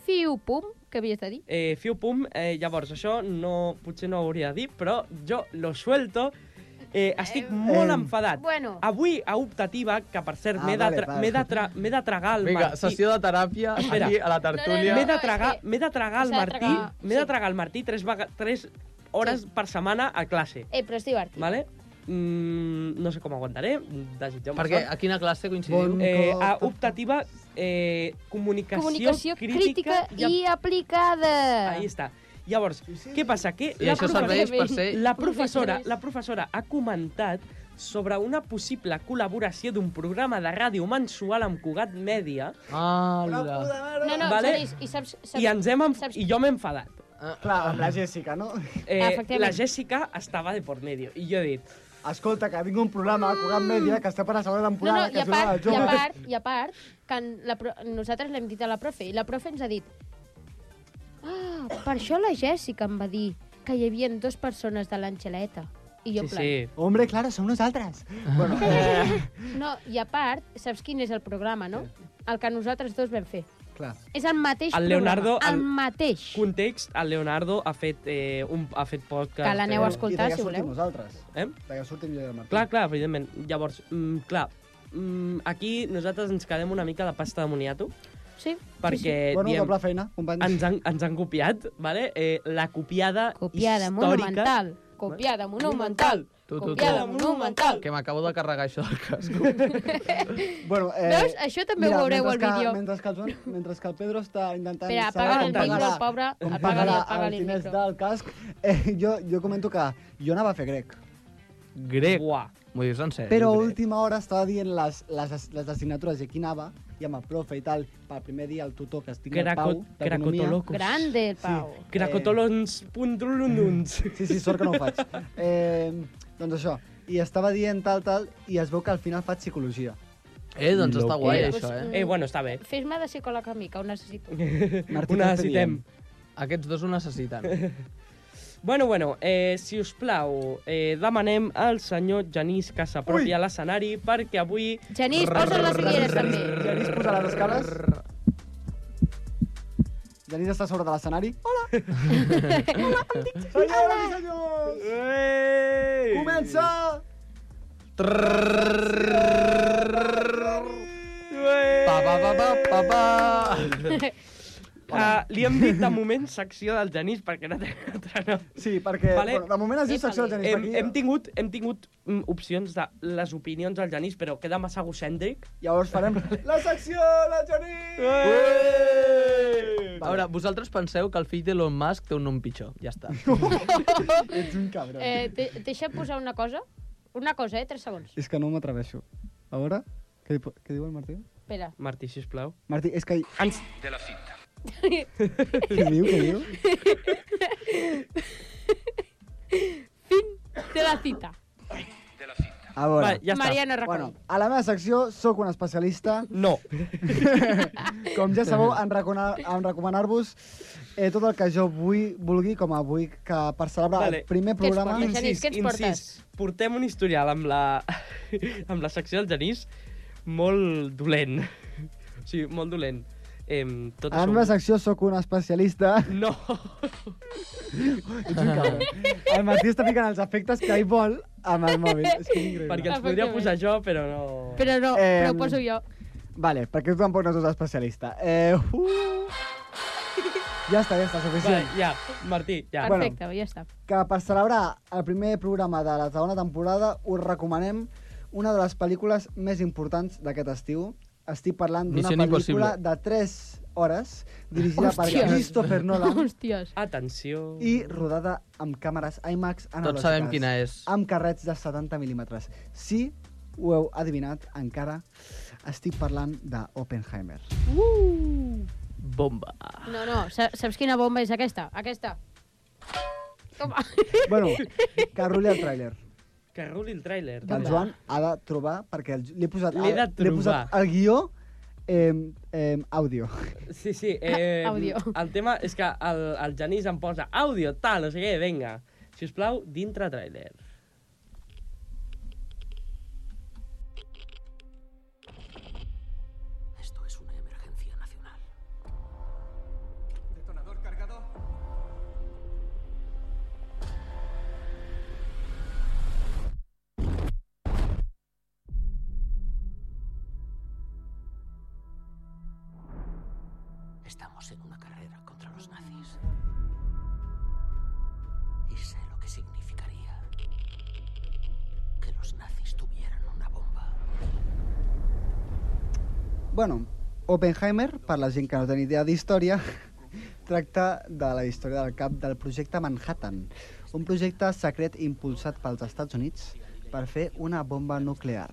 Speaker 4: fiu, pum, que havies de dir?
Speaker 5: Eh, fiu pum, eh, llavors, això no, potser no ho hauria de dir, però jo lo suelto. Eh, estic molt
Speaker 6: Em.
Speaker 5: enfadat.
Speaker 4: Bueno.
Speaker 5: Avui, a optativa, que per cert,
Speaker 6: Ah,
Speaker 5: m'he de,
Speaker 6: vale,
Speaker 5: tra
Speaker 6: vale.
Speaker 5: m'he de, tra m'he de tragar el
Speaker 7: Vinga,
Speaker 5: Martí.
Speaker 7: sessió de teràpia
Speaker 5: Espera.
Speaker 7: aquí a la
Speaker 4: No,
Speaker 7: tertúlia.
Speaker 5: M'he de
Speaker 4: és
Speaker 5: tragar,
Speaker 4: que
Speaker 5: m'he de tragar el
Speaker 4: s'ha de
Speaker 5: Martí,
Speaker 4: tragar,
Speaker 5: m'he de
Speaker 4: sí.
Speaker 5: tragar el Martí tres, vega- tres hores per setmana a classe.
Speaker 4: Eh, però és divertit.
Speaker 5: Vale? Mm, no sé com aguantaré, desitjeu-me
Speaker 7: Perquè
Speaker 5: sort.
Speaker 7: a quina classe coincidim?
Speaker 6: Bon-
Speaker 5: Eh,
Speaker 6: cop.
Speaker 5: a optativa, eh, comunicació,
Speaker 4: Comunicació crítica, i, eh, aplicada.
Speaker 5: Ahí està. Llavors, què passa? Que
Speaker 7: I això
Speaker 5: professora-
Speaker 7: serveix per ser...
Speaker 5: la professora, la professora ha comentat sobre una possible col·laboració d'un programa de ràdio mensual amb Cugat Mèdia
Speaker 7: Ala.
Speaker 4: No, no,
Speaker 5: Vale.
Speaker 4: vale. Genís, i saps... saps
Speaker 5: i, ens hem enf
Speaker 4: saps-
Speaker 5: i jo m'he enfadat.
Speaker 7: Ah,
Speaker 6: Clar, amb la Jessica, no?
Speaker 5: Eh,
Speaker 4: Efectivament.
Speaker 5: la Jessica estava de por medio i jo he dit,
Speaker 6: Escolta, que vinc un programa a Cugat Mèdia que està per la segona
Speaker 4: No, Mm. no,
Speaker 6: temporada,
Speaker 4: i a
Speaker 6: que es
Speaker 4: part, i
Speaker 6: diu
Speaker 4: a
Speaker 6: la jove.
Speaker 4: part, i a part, que en la pro... nosaltres l'hem dit a la profe, i la profe ens ha dit... Ah, per això la Jèssica em va dir que hi havia dues persones de l'Angeleta. I jo
Speaker 5: sí,
Speaker 4: en plan,
Speaker 5: sí,
Speaker 6: Hombre, claro, som nosaltres. Bueno, eh,
Speaker 4: No, i a part, saps quin és el programa, no? El que nosaltres dos vam fer.
Speaker 6: clar.
Speaker 4: És el mateix
Speaker 5: El Leonardo,
Speaker 4: programa, el,
Speaker 5: el-
Speaker 4: mateix.
Speaker 5: context, el Leonardo ha fet, eh, un, ha fet podcast...
Speaker 4: Que l'aneu a
Speaker 5: eh,
Speaker 4: escoltar,
Speaker 6: I de
Speaker 4: si
Speaker 6: que
Speaker 4: voleu.
Speaker 6: sortim nosaltres.
Speaker 5: Eh?
Speaker 6: De que sortim jo i el Martí.
Speaker 5: Clar, clar, evidentment. Llavors, mm, clar, mm, aquí nosaltres ens quedem una mica de pasta de moniato,
Speaker 4: Sí, sí,
Speaker 5: perquè
Speaker 6: bueno,
Speaker 5: diem,
Speaker 6: doble feina, companys.
Speaker 5: ens, han, ens han copiat, vale? eh, la copiada,
Speaker 4: sí. Copiada
Speaker 5: històrica...
Speaker 4: monumental. Copiada monumental.
Speaker 7: Tu, tu, tu.
Speaker 4: Copiada monumental.
Speaker 7: Que m'acabo de carregar això del casco.
Speaker 6: Bueno, eh,
Speaker 4: Veus? Això també ho veureu al
Speaker 6: mentre que-
Speaker 4: vídeo.
Speaker 6: Mentre que, el Joan, mentre que el Pedro està intentant...
Speaker 4: Espera,
Speaker 6: saber
Speaker 4: apaga el
Speaker 6: com
Speaker 5: tant.
Speaker 4: micro,
Speaker 6: pagarà-
Speaker 4: el pobre.
Speaker 6: com
Speaker 4: Apaga-li,
Speaker 6: pagarà
Speaker 4: apaga-li
Speaker 6: el
Speaker 4: el
Speaker 6: diners
Speaker 4: micro.
Speaker 6: del casc, eh, jo, jo comento que jo anava a fer grec, Eh,
Speaker 7: Grec.
Speaker 5: Uah.
Speaker 7: M'ho dius en sèrio?
Speaker 6: però a
Speaker 7: grec?
Speaker 6: última hora estava dient les, les, les assignatures i aquí anava, i amb el profe i tal, pel primer dia el tutor que estic amb el Pau,
Speaker 5: Craco,
Speaker 6: d'economia...
Speaker 5: cracotolocos.
Speaker 4: Grande, el Pau.
Speaker 5: Cracotolons.rulununs.
Speaker 6: Sí, sí, sort que no ho faig. Eh, doncs això, i estava dient tal, tal, i es veu que al final faig psicologia.
Speaker 7: Eh, doncs està
Speaker 5: Lo
Speaker 7: guai,
Speaker 5: que-
Speaker 7: això, eh?
Speaker 5: Eh, bueno, està bé.
Speaker 4: Fes-me de psicòleg a mi, que ho necessito.
Speaker 6: Martí,
Speaker 5: Ho
Speaker 6: què
Speaker 5: necessitem.
Speaker 6: diem?
Speaker 7: Aquests dos ho necessiten.
Speaker 5: Bueno, bueno, eh, si us plau, eh, demanem al senyor Genís que s'apropi a l'escenari perquè avui...
Speaker 4: Genís, posa les ulleres també.
Speaker 6: Ja he disposat les escales? Genís està a sobre de l'escenari. Hola!
Speaker 5: Ei!
Speaker 6: Comença!
Speaker 7: Pa, pa, pa, pa, pa, pa.
Speaker 5: Uh, li hem dit de moment secció del Genís perquè no té altre nom.
Speaker 6: Sí, perquè
Speaker 5: Vale.
Speaker 6: bueno, de moment es diu secció del Genís.
Speaker 5: Hem,
Speaker 6: per aquí.
Speaker 5: hem tingut, hem tingut mm, opcions de les opinions del Genís, però queda massa egocèntric.
Speaker 6: Llavors farem la secció del Genís!
Speaker 7: A veure, vosaltres penseu que el fill d'Elon Musk té un nom pitjor. Ja està.
Speaker 6: Ets un cabrón.
Speaker 4: Eh, de deixa posar una cosa. Una cosa, eh? Tres segons.
Speaker 6: És que no m'atreveixo. A veure, què, di- què diu el Martí?
Speaker 4: Espera.
Speaker 5: Martí, sisplau.
Speaker 6: Martí, és que...
Speaker 5: Ens...
Speaker 6: Què diu, què diu?
Speaker 4: Té la cita.
Speaker 6: A veure.
Speaker 5: Va, ja està.
Speaker 4: Mariano Rajoy.
Speaker 6: Bueno, a la meva secció sóc un especialista.
Speaker 5: No.
Speaker 6: Com ja sabeu, en, reconar- en recomanar-vos eh, tot el que jo vull, vulgui, com avui, que per celebrar
Speaker 5: Vale.
Speaker 6: el primer
Speaker 4: Què ens
Speaker 6: programa...
Speaker 4: portes? Genís, què ens portes?
Speaker 5: portem un historial amb la, amb la secció del Genís molt dolent. O sigui, molt dolent. Eh, tot
Speaker 6: A la meva secció sóc un especialista.
Speaker 5: No.
Speaker 6: Ets un cabrón. El Martí està ficant els efectes que ell vol amb el mòbil. És que és increïble.
Speaker 5: Perquè els podria
Speaker 4: Efectivament.
Speaker 5: posar jo, però no...
Speaker 4: Però no,
Speaker 6: Eh,
Speaker 4: però ho poso jo.
Speaker 6: Vale, perquè tu tampoc no ets un especialista. Eh, uh... Ja està, ja està,
Speaker 5: Vale,
Speaker 6: suficient.
Speaker 5: ja, Martí, ja.
Speaker 6: Bueno.
Speaker 4: Perfecte, ja està.
Speaker 6: que per celebrar el primer programa de la segona temporada us recomanem una de les pel·lícules més importants d'aquest estiu. Estic parlant d'una
Speaker 7: Misión
Speaker 6: pel·lícula
Speaker 7: impossible.
Speaker 6: de 3 hores dirigida
Speaker 4: Hòstia.
Speaker 6: per Christopher Nolan
Speaker 4: Hòsties.
Speaker 5: Atenció.
Speaker 6: i rodada amb càmeres IMAX analògiques.
Speaker 7: Tots sabem quina és.
Speaker 6: Amb carrets de 70 mil·límetres. Si ho heu adivinat encara, estic parlant d'Oppenheimer.
Speaker 7: Bomba.
Speaker 4: No, no, sa- saps quina bomba és aquesta? Aquesta. Toma.
Speaker 6: bueno, que rulli el tràiler.
Speaker 5: Que ruli el tràiler.
Speaker 6: que el
Speaker 5: Dale.
Speaker 6: Doncs, Joan ha de trobar, perquè el- l'he posat,
Speaker 5: L'he de
Speaker 6: al- l'he posat
Speaker 5: trobar.
Speaker 6: al guió eh, eh, àudio.
Speaker 5: Sí, sí. Eh,
Speaker 4: Àudio.
Speaker 5: El tema és que el, el Genís em posa àudio, tal, no sé què, vinga. Si us plau, dintre tràiler.
Speaker 8: Esto es una emergencia nacional. Estamos en una carrera contra los nazis. Y sé lo que significaría que los nazis tuvieran una bomba.
Speaker 6: Bueno, Oppenheimer, per la gent que no té ni idea d'història, tracta de la història del cap del projecte Manhattan, un projecte secret impulsat pels Estats Units per fer una bomba nuclear.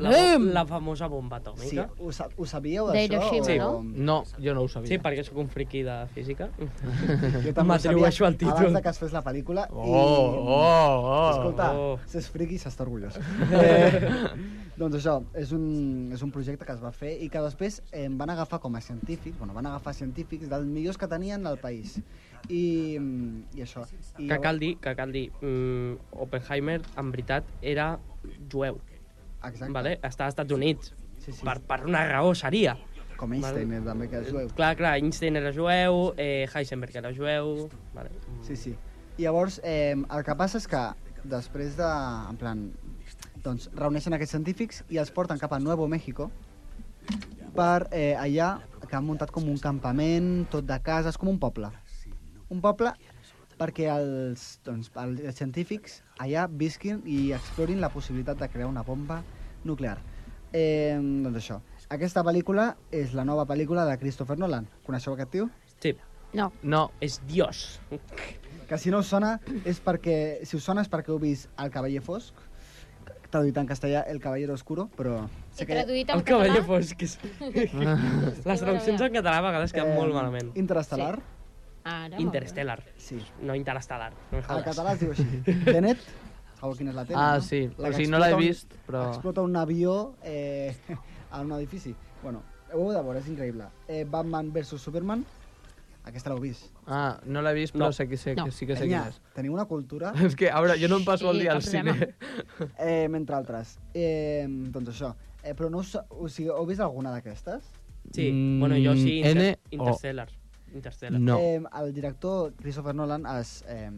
Speaker 5: La, bo- la famosa bomba
Speaker 6: Sí,
Speaker 5: atòmica.
Speaker 6: ho, sa ho sabíeu,
Speaker 4: De
Speaker 6: d'això?
Speaker 4: Hiroshima,
Speaker 6: o-
Speaker 4: no?
Speaker 7: No, jo no ho
Speaker 5: Sí,
Speaker 7: sabia.
Speaker 5: sí perquè sóc un friqui de física.
Speaker 6: Jo també ho
Speaker 5: M'atribueixo
Speaker 6: sabia
Speaker 5: el títol.
Speaker 6: Abans de que es fes la pel·lícula. i... Escolta,
Speaker 5: Oh.
Speaker 6: si és friqui, s'està orgullós. Eh, doncs això, és un, és un projecte que es va fer i que després eh, van agafar com a científics, bueno, van agafar científics dels millors que tenien al país. I, mm, i això. I,
Speaker 5: Que cal dir, que cal dir, mm, Oppenheimer, en veritat, era jueu.
Speaker 6: Exacte,
Speaker 5: Vale? Està als Estats Units.
Speaker 6: Sí, sí.
Speaker 5: Per, per una raó seria.
Speaker 6: com Einstein, eh, també, que és jueu.
Speaker 5: Clar, clar, Einstein era jueu, eh, Heisenberg era jueu... Vale.
Speaker 6: Sí, sí. I llavors, eh, el que passa és que després de... En plan, doncs, reuneixen aquests científics i els porten cap a Nuevo México per eh, allà que han muntat com un campament, tot de cases, com un poble. Un poble perquè els, doncs, els científics allà visquin i explorin la possibilitat de crear una bomba nuclear. Eh, doncs això. Aquesta pel·lícula és la nova pel·lícula de Christopher Nolan. Coneixeu aquest tio?
Speaker 5: Sí,
Speaker 4: No.
Speaker 7: No,
Speaker 5: és Dios.
Speaker 6: Que si no us sona és perquè... Si us sona és perquè heu vist El cavaller fosc, traduït en castellà El cavallero oscuro, però...
Speaker 4: He traduït en
Speaker 5: El
Speaker 4: català.
Speaker 5: cavaller fosc. és- Les traduccions en català a vegades queden
Speaker 7: Eh,
Speaker 6: eh,
Speaker 5: molt malament.
Speaker 6: Interestel·lar.
Speaker 4: Ara,
Speaker 5: Interstellar,
Speaker 6: Sí. sí.
Speaker 5: no interestel·lar. No em
Speaker 6: Al
Speaker 5: jodes.
Speaker 6: català es diu així. Tenet. Sabeu quina és la Tenet,
Speaker 7: Ah,
Speaker 6: no?
Speaker 7: sí.
Speaker 6: La
Speaker 7: O
Speaker 6: que
Speaker 7: sigui, no l'he
Speaker 6: explota un-
Speaker 7: vist, però-
Speaker 6: Explota un avió eh, a un edifici. Bueno, ho heu de veure, és increïble. Eh, Batman vs Superman. Aquesta l'heu vist.
Speaker 7: ah, no l'he vist, però
Speaker 5: No.
Speaker 7: sé qui sé,
Speaker 4: No.
Speaker 7: que sí que sé
Speaker 6: Penya,
Speaker 7: quin és.
Speaker 6: teniu una cultura
Speaker 7: És que, a veure, jo no em passo el
Speaker 4: Sí,
Speaker 7: dia
Speaker 4: cap
Speaker 7: al cine.
Speaker 6: eh, mentre altres. Eh, doncs això. Eh, però no us... O sigui, heu vist alguna d'aquestes?
Speaker 5: Sí,
Speaker 7: Mm,
Speaker 5: bueno, jo sí,
Speaker 7: N
Speaker 5: inter
Speaker 7: o-
Speaker 5: Interstellar. Interstellar.
Speaker 7: No.
Speaker 6: Eh, el director Christopher Nolan es, eh,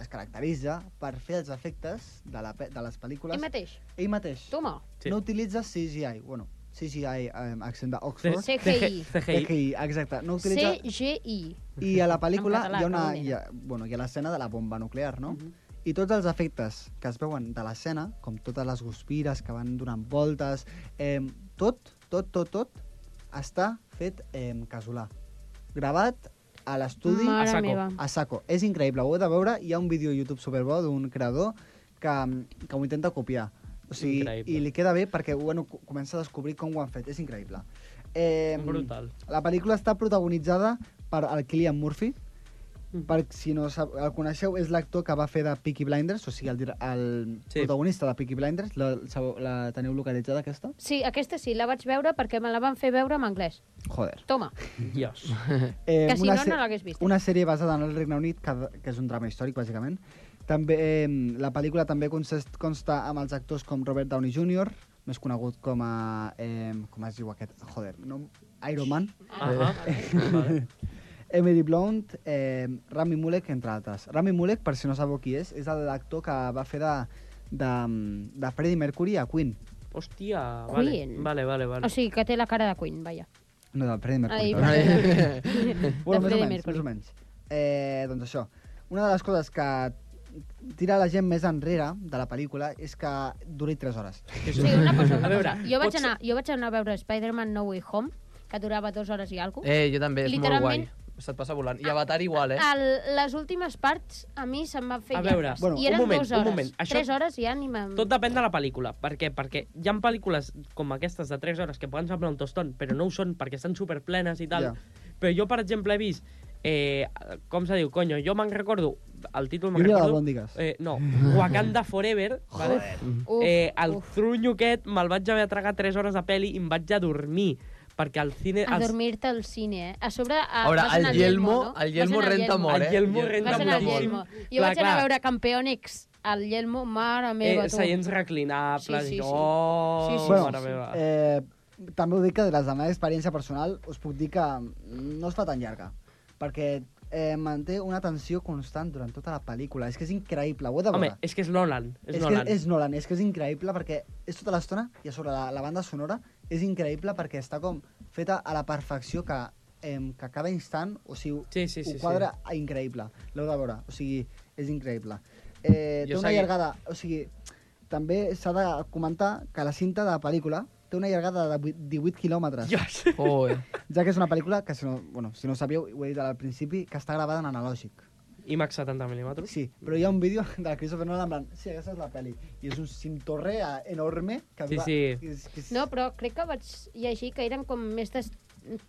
Speaker 6: es caracteritza per fer els efectes de, la, pe- de les pel·lícules
Speaker 4: Ell mateix.
Speaker 6: ell mateix.
Speaker 4: Toma.
Speaker 5: Sí.
Speaker 6: No utilitza CGI, bueno, CGI, eh, accent d'Oxford.
Speaker 4: Sí.
Speaker 5: CGI.
Speaker 4: CGI.
Speaker 6: CGI, exacte. No utilitza...
Speaker 4: CGI.
Speaker 6: I a la pel·lícula
Speaker 4: En català, com Mhm. era?
Speaker 6: hi ha, una, hi ha, bueno, hi ha l'escena de la bomba nuclear, no? I tots els efectes que es veuen de l'escena, com totes les guspires que van donant voltes, eh, tot, tot, tot, tot, està fet eh, casolà. Gravat a l'estudi
Speaker 4: Mare
Speaker 5: a saco.
Speaker 4: meva.
Speaker 6: a saco. És increïble, ho heu de veure. Hi ha un vídeo a YouTube superbo d'un creador que, que ho intenta copiar. O sigui,
Speaker 5: Increïble.
Speaker 6: i li queda bé perquè bueno, co- comença a descobrir com ho han fet. És increïble. Eh,
Speaker 5: Brutal.
Speaker 6: La pel·lícula està protagonitzada per el Cillian Murphy,
Speaker 5: Mm.
Speaker 6: per, si no sab- el coneixeu, és l'actor que va fer de Peaky Blinders, o sigui, el, dir- el
Speaker 5: Sí.
Speaker 6: sí. protagonista de Peaky Blinders. La, sabeu- la teniu localitzada, aquesta?
Speaker 4: Sí, aquesta sí, la vaig veure perquè me la van fer veure en anglès.
Speaker 6: Joder.
Speaker 4: Toma,
Speaker 7: Mm.
Speaker 5: Dios.
Speaker 6: Eh,
Speaker 4: que si no,
Speaker 6: se-
Speaker 4: no l'hagués vist.
Speaker 6: Una sèrie basada en el Regne Unit, que, que és un drama històric, bàsicament. També, eh, la pel·lícula també consist, consta amb els actors com Robert Downey Jr., més conegut com a... Eh, com es diu aquest? Joder, no, Iron Man.
Speaker 5: Ah,
Speaker 7: Eh.
Speaker 5: vale.
Speaker 6: Emily Blunt, eh, Rami Malek, entre altres. Rami Malek, per si no sabeu qui és, és l'actor que va fer de, de, de Freddie Mercury a Queen.
Speaker 5: Hòstia, vale.
Speaker 4: Queen.
Speaker 5: Vale, vale, vale.
Speaker 4: O sigui, que té la cara de Queen, vaja.
Speaker 6: No, de Freddie Mercury.
Speaker 4: Ai,
Speaker 6: perdó. bueno, més o
Speaker 4: Freddie
Speaker 6: menys,
Speaker 4: Mercury.
Speaker 6: més o menys. Eh, doncs això, una de les coses que tira la gent més enrere de la pel·lícula és que duri 3 hores.
Speaker 4: Sí, una cosa, una
Speaker 5: A veure,
Speaker 4: cosa. Jo vaig,
Speaker 5: potser-
Speaker 4: anar, jo vaig anar a veure Spider-Man No Way Home, que durava dues hores i alguna cosa.
Speaker 7: Eh, jo també, és molt guai.
Speaker 4: Literalment- Ah,
Speaker 7: Se't passa volant. I Avatar igual, eh?
Speaker 4: El, les últimes parts a mi se'm van fer
Speaker 5: A veure,
Speaker 4: llargues.
Speaker 6: bueno,
Speaker 4: I eren
Speaker 5: un moment,
Speaker 4: dues
Speaker 5: un
Speaker 4: hores.
Speaker 5: moment. Això-
Speaker 4: Tres hores ja ni me'n...
Speaker 5: Tot depèn de la pel·lícula. Per què? Perquè hi ha pel·lícules com aquestes de 3 hores que poden semblar un tostón, però no ho són perquè estan superplenes i tal.
Speaker 6: Ja.
Speaker 5: Però jo, per exemple, he vist... Eh, com se diu, conyo? Jo me'n recordo... El títol me'n
Speaker 6: Lluvia de
Speaker 5: recordo...
Speaker 6: albòndigues.
Speaker 5: Eh, no, Wakanda Forever, vale?
Speaker 4: Uf,
Speaker 5: eh, el
Speaker 4: uf.
Speaker 5: trunyo aquest me'l vaig haver de tragar 3 hores de peli i em vaig a dormir perquè al cine...
Speaker 4: A
Speaker 5: als-
Speaker 4: dormir-te al cine, eh? A sobre... A,
Speaker 7: A veure,
Speaker 4: vas anar al
Speaker 7: el Yelmo,
Speaker 4: no?
Speaker 7: el Yelmo
Speaker 4: Vas anar al
Speaker 7: renta molt, eh?
Speaker 5: El Yelmo renta
Speaker 4: Vas anar al
Speaker 5: moltíssim.
Speaker 4: Yelmo. Jo
Speaker 5: Clar,
Speaker 4: vaig anar a
Speaker 5: clar.
Speaker 4: veure Campeònics al Yelmo, mare meva,
Speaker 5: Eh,
Speaker 4: tu.
Speaker 5: seients reclinables,
Speaker 4: Sí, sí,
Speaker 5: sí,
Speaker 4: sí.
Speaker 5: sí, sí. jo...
Speaker 4: Sí, sí,
Speaker 6: bueno,
Speaker 5: Oh, mare meva.
Speaker 6: eh, també ho dic que de la meva experiència personal us puc dir que no es fa tan llarga, perquè eh, manté una tensió constant durant tota la pel·lícula. És que és increïble, ho heu de
Speaker 5: Home,
Speaker 6: veure.
Speaker 5: és que és Nolan. És,
Speaker 6: és,
Speaker 5: Nolan.
Speaker 6: que és Nolan, és que és increïble perquè és tota l'estona i a sobre la, la banda sonora és increïble perquè està com feta a la perfecció que, em, que cada instant, o sigui,
Speaker 5: Sí, sí, sí,
Speaker 6: ho quadra sí. increïble. L'heu de veure, o sigui, és increïble. Eh, té
Speaker 7: Jo
Speaker 6: una
Speaker 7: seguim.
Speaker 6: llargada, o sigui, també s'ha de comentar que la cinta de la pel·lícula té una llargada de 8 18 quilòmetres,
Speaker 5: Dios.
Speaker 7: Oh, eh?
Speaker 6: ja que és una pel·lícula que, si no, bueno, si no ho sabíeu, ho he dit al principi, que està gravada en analògic.
Speaker 5: IMAX 70 mm.
Speaker 6: Sí, però hi ha un vídeo de Christopher Nolan en plan, sí, aquesta és la pel·li. I és un cintorre eh, enorme que
Speaker 5: Sí,
Speaker 6: va...
Speaker 5: sí.
Speaker 6: És, que és...
Speaker 4: No, però crec que vaig llegir que eren com més de s-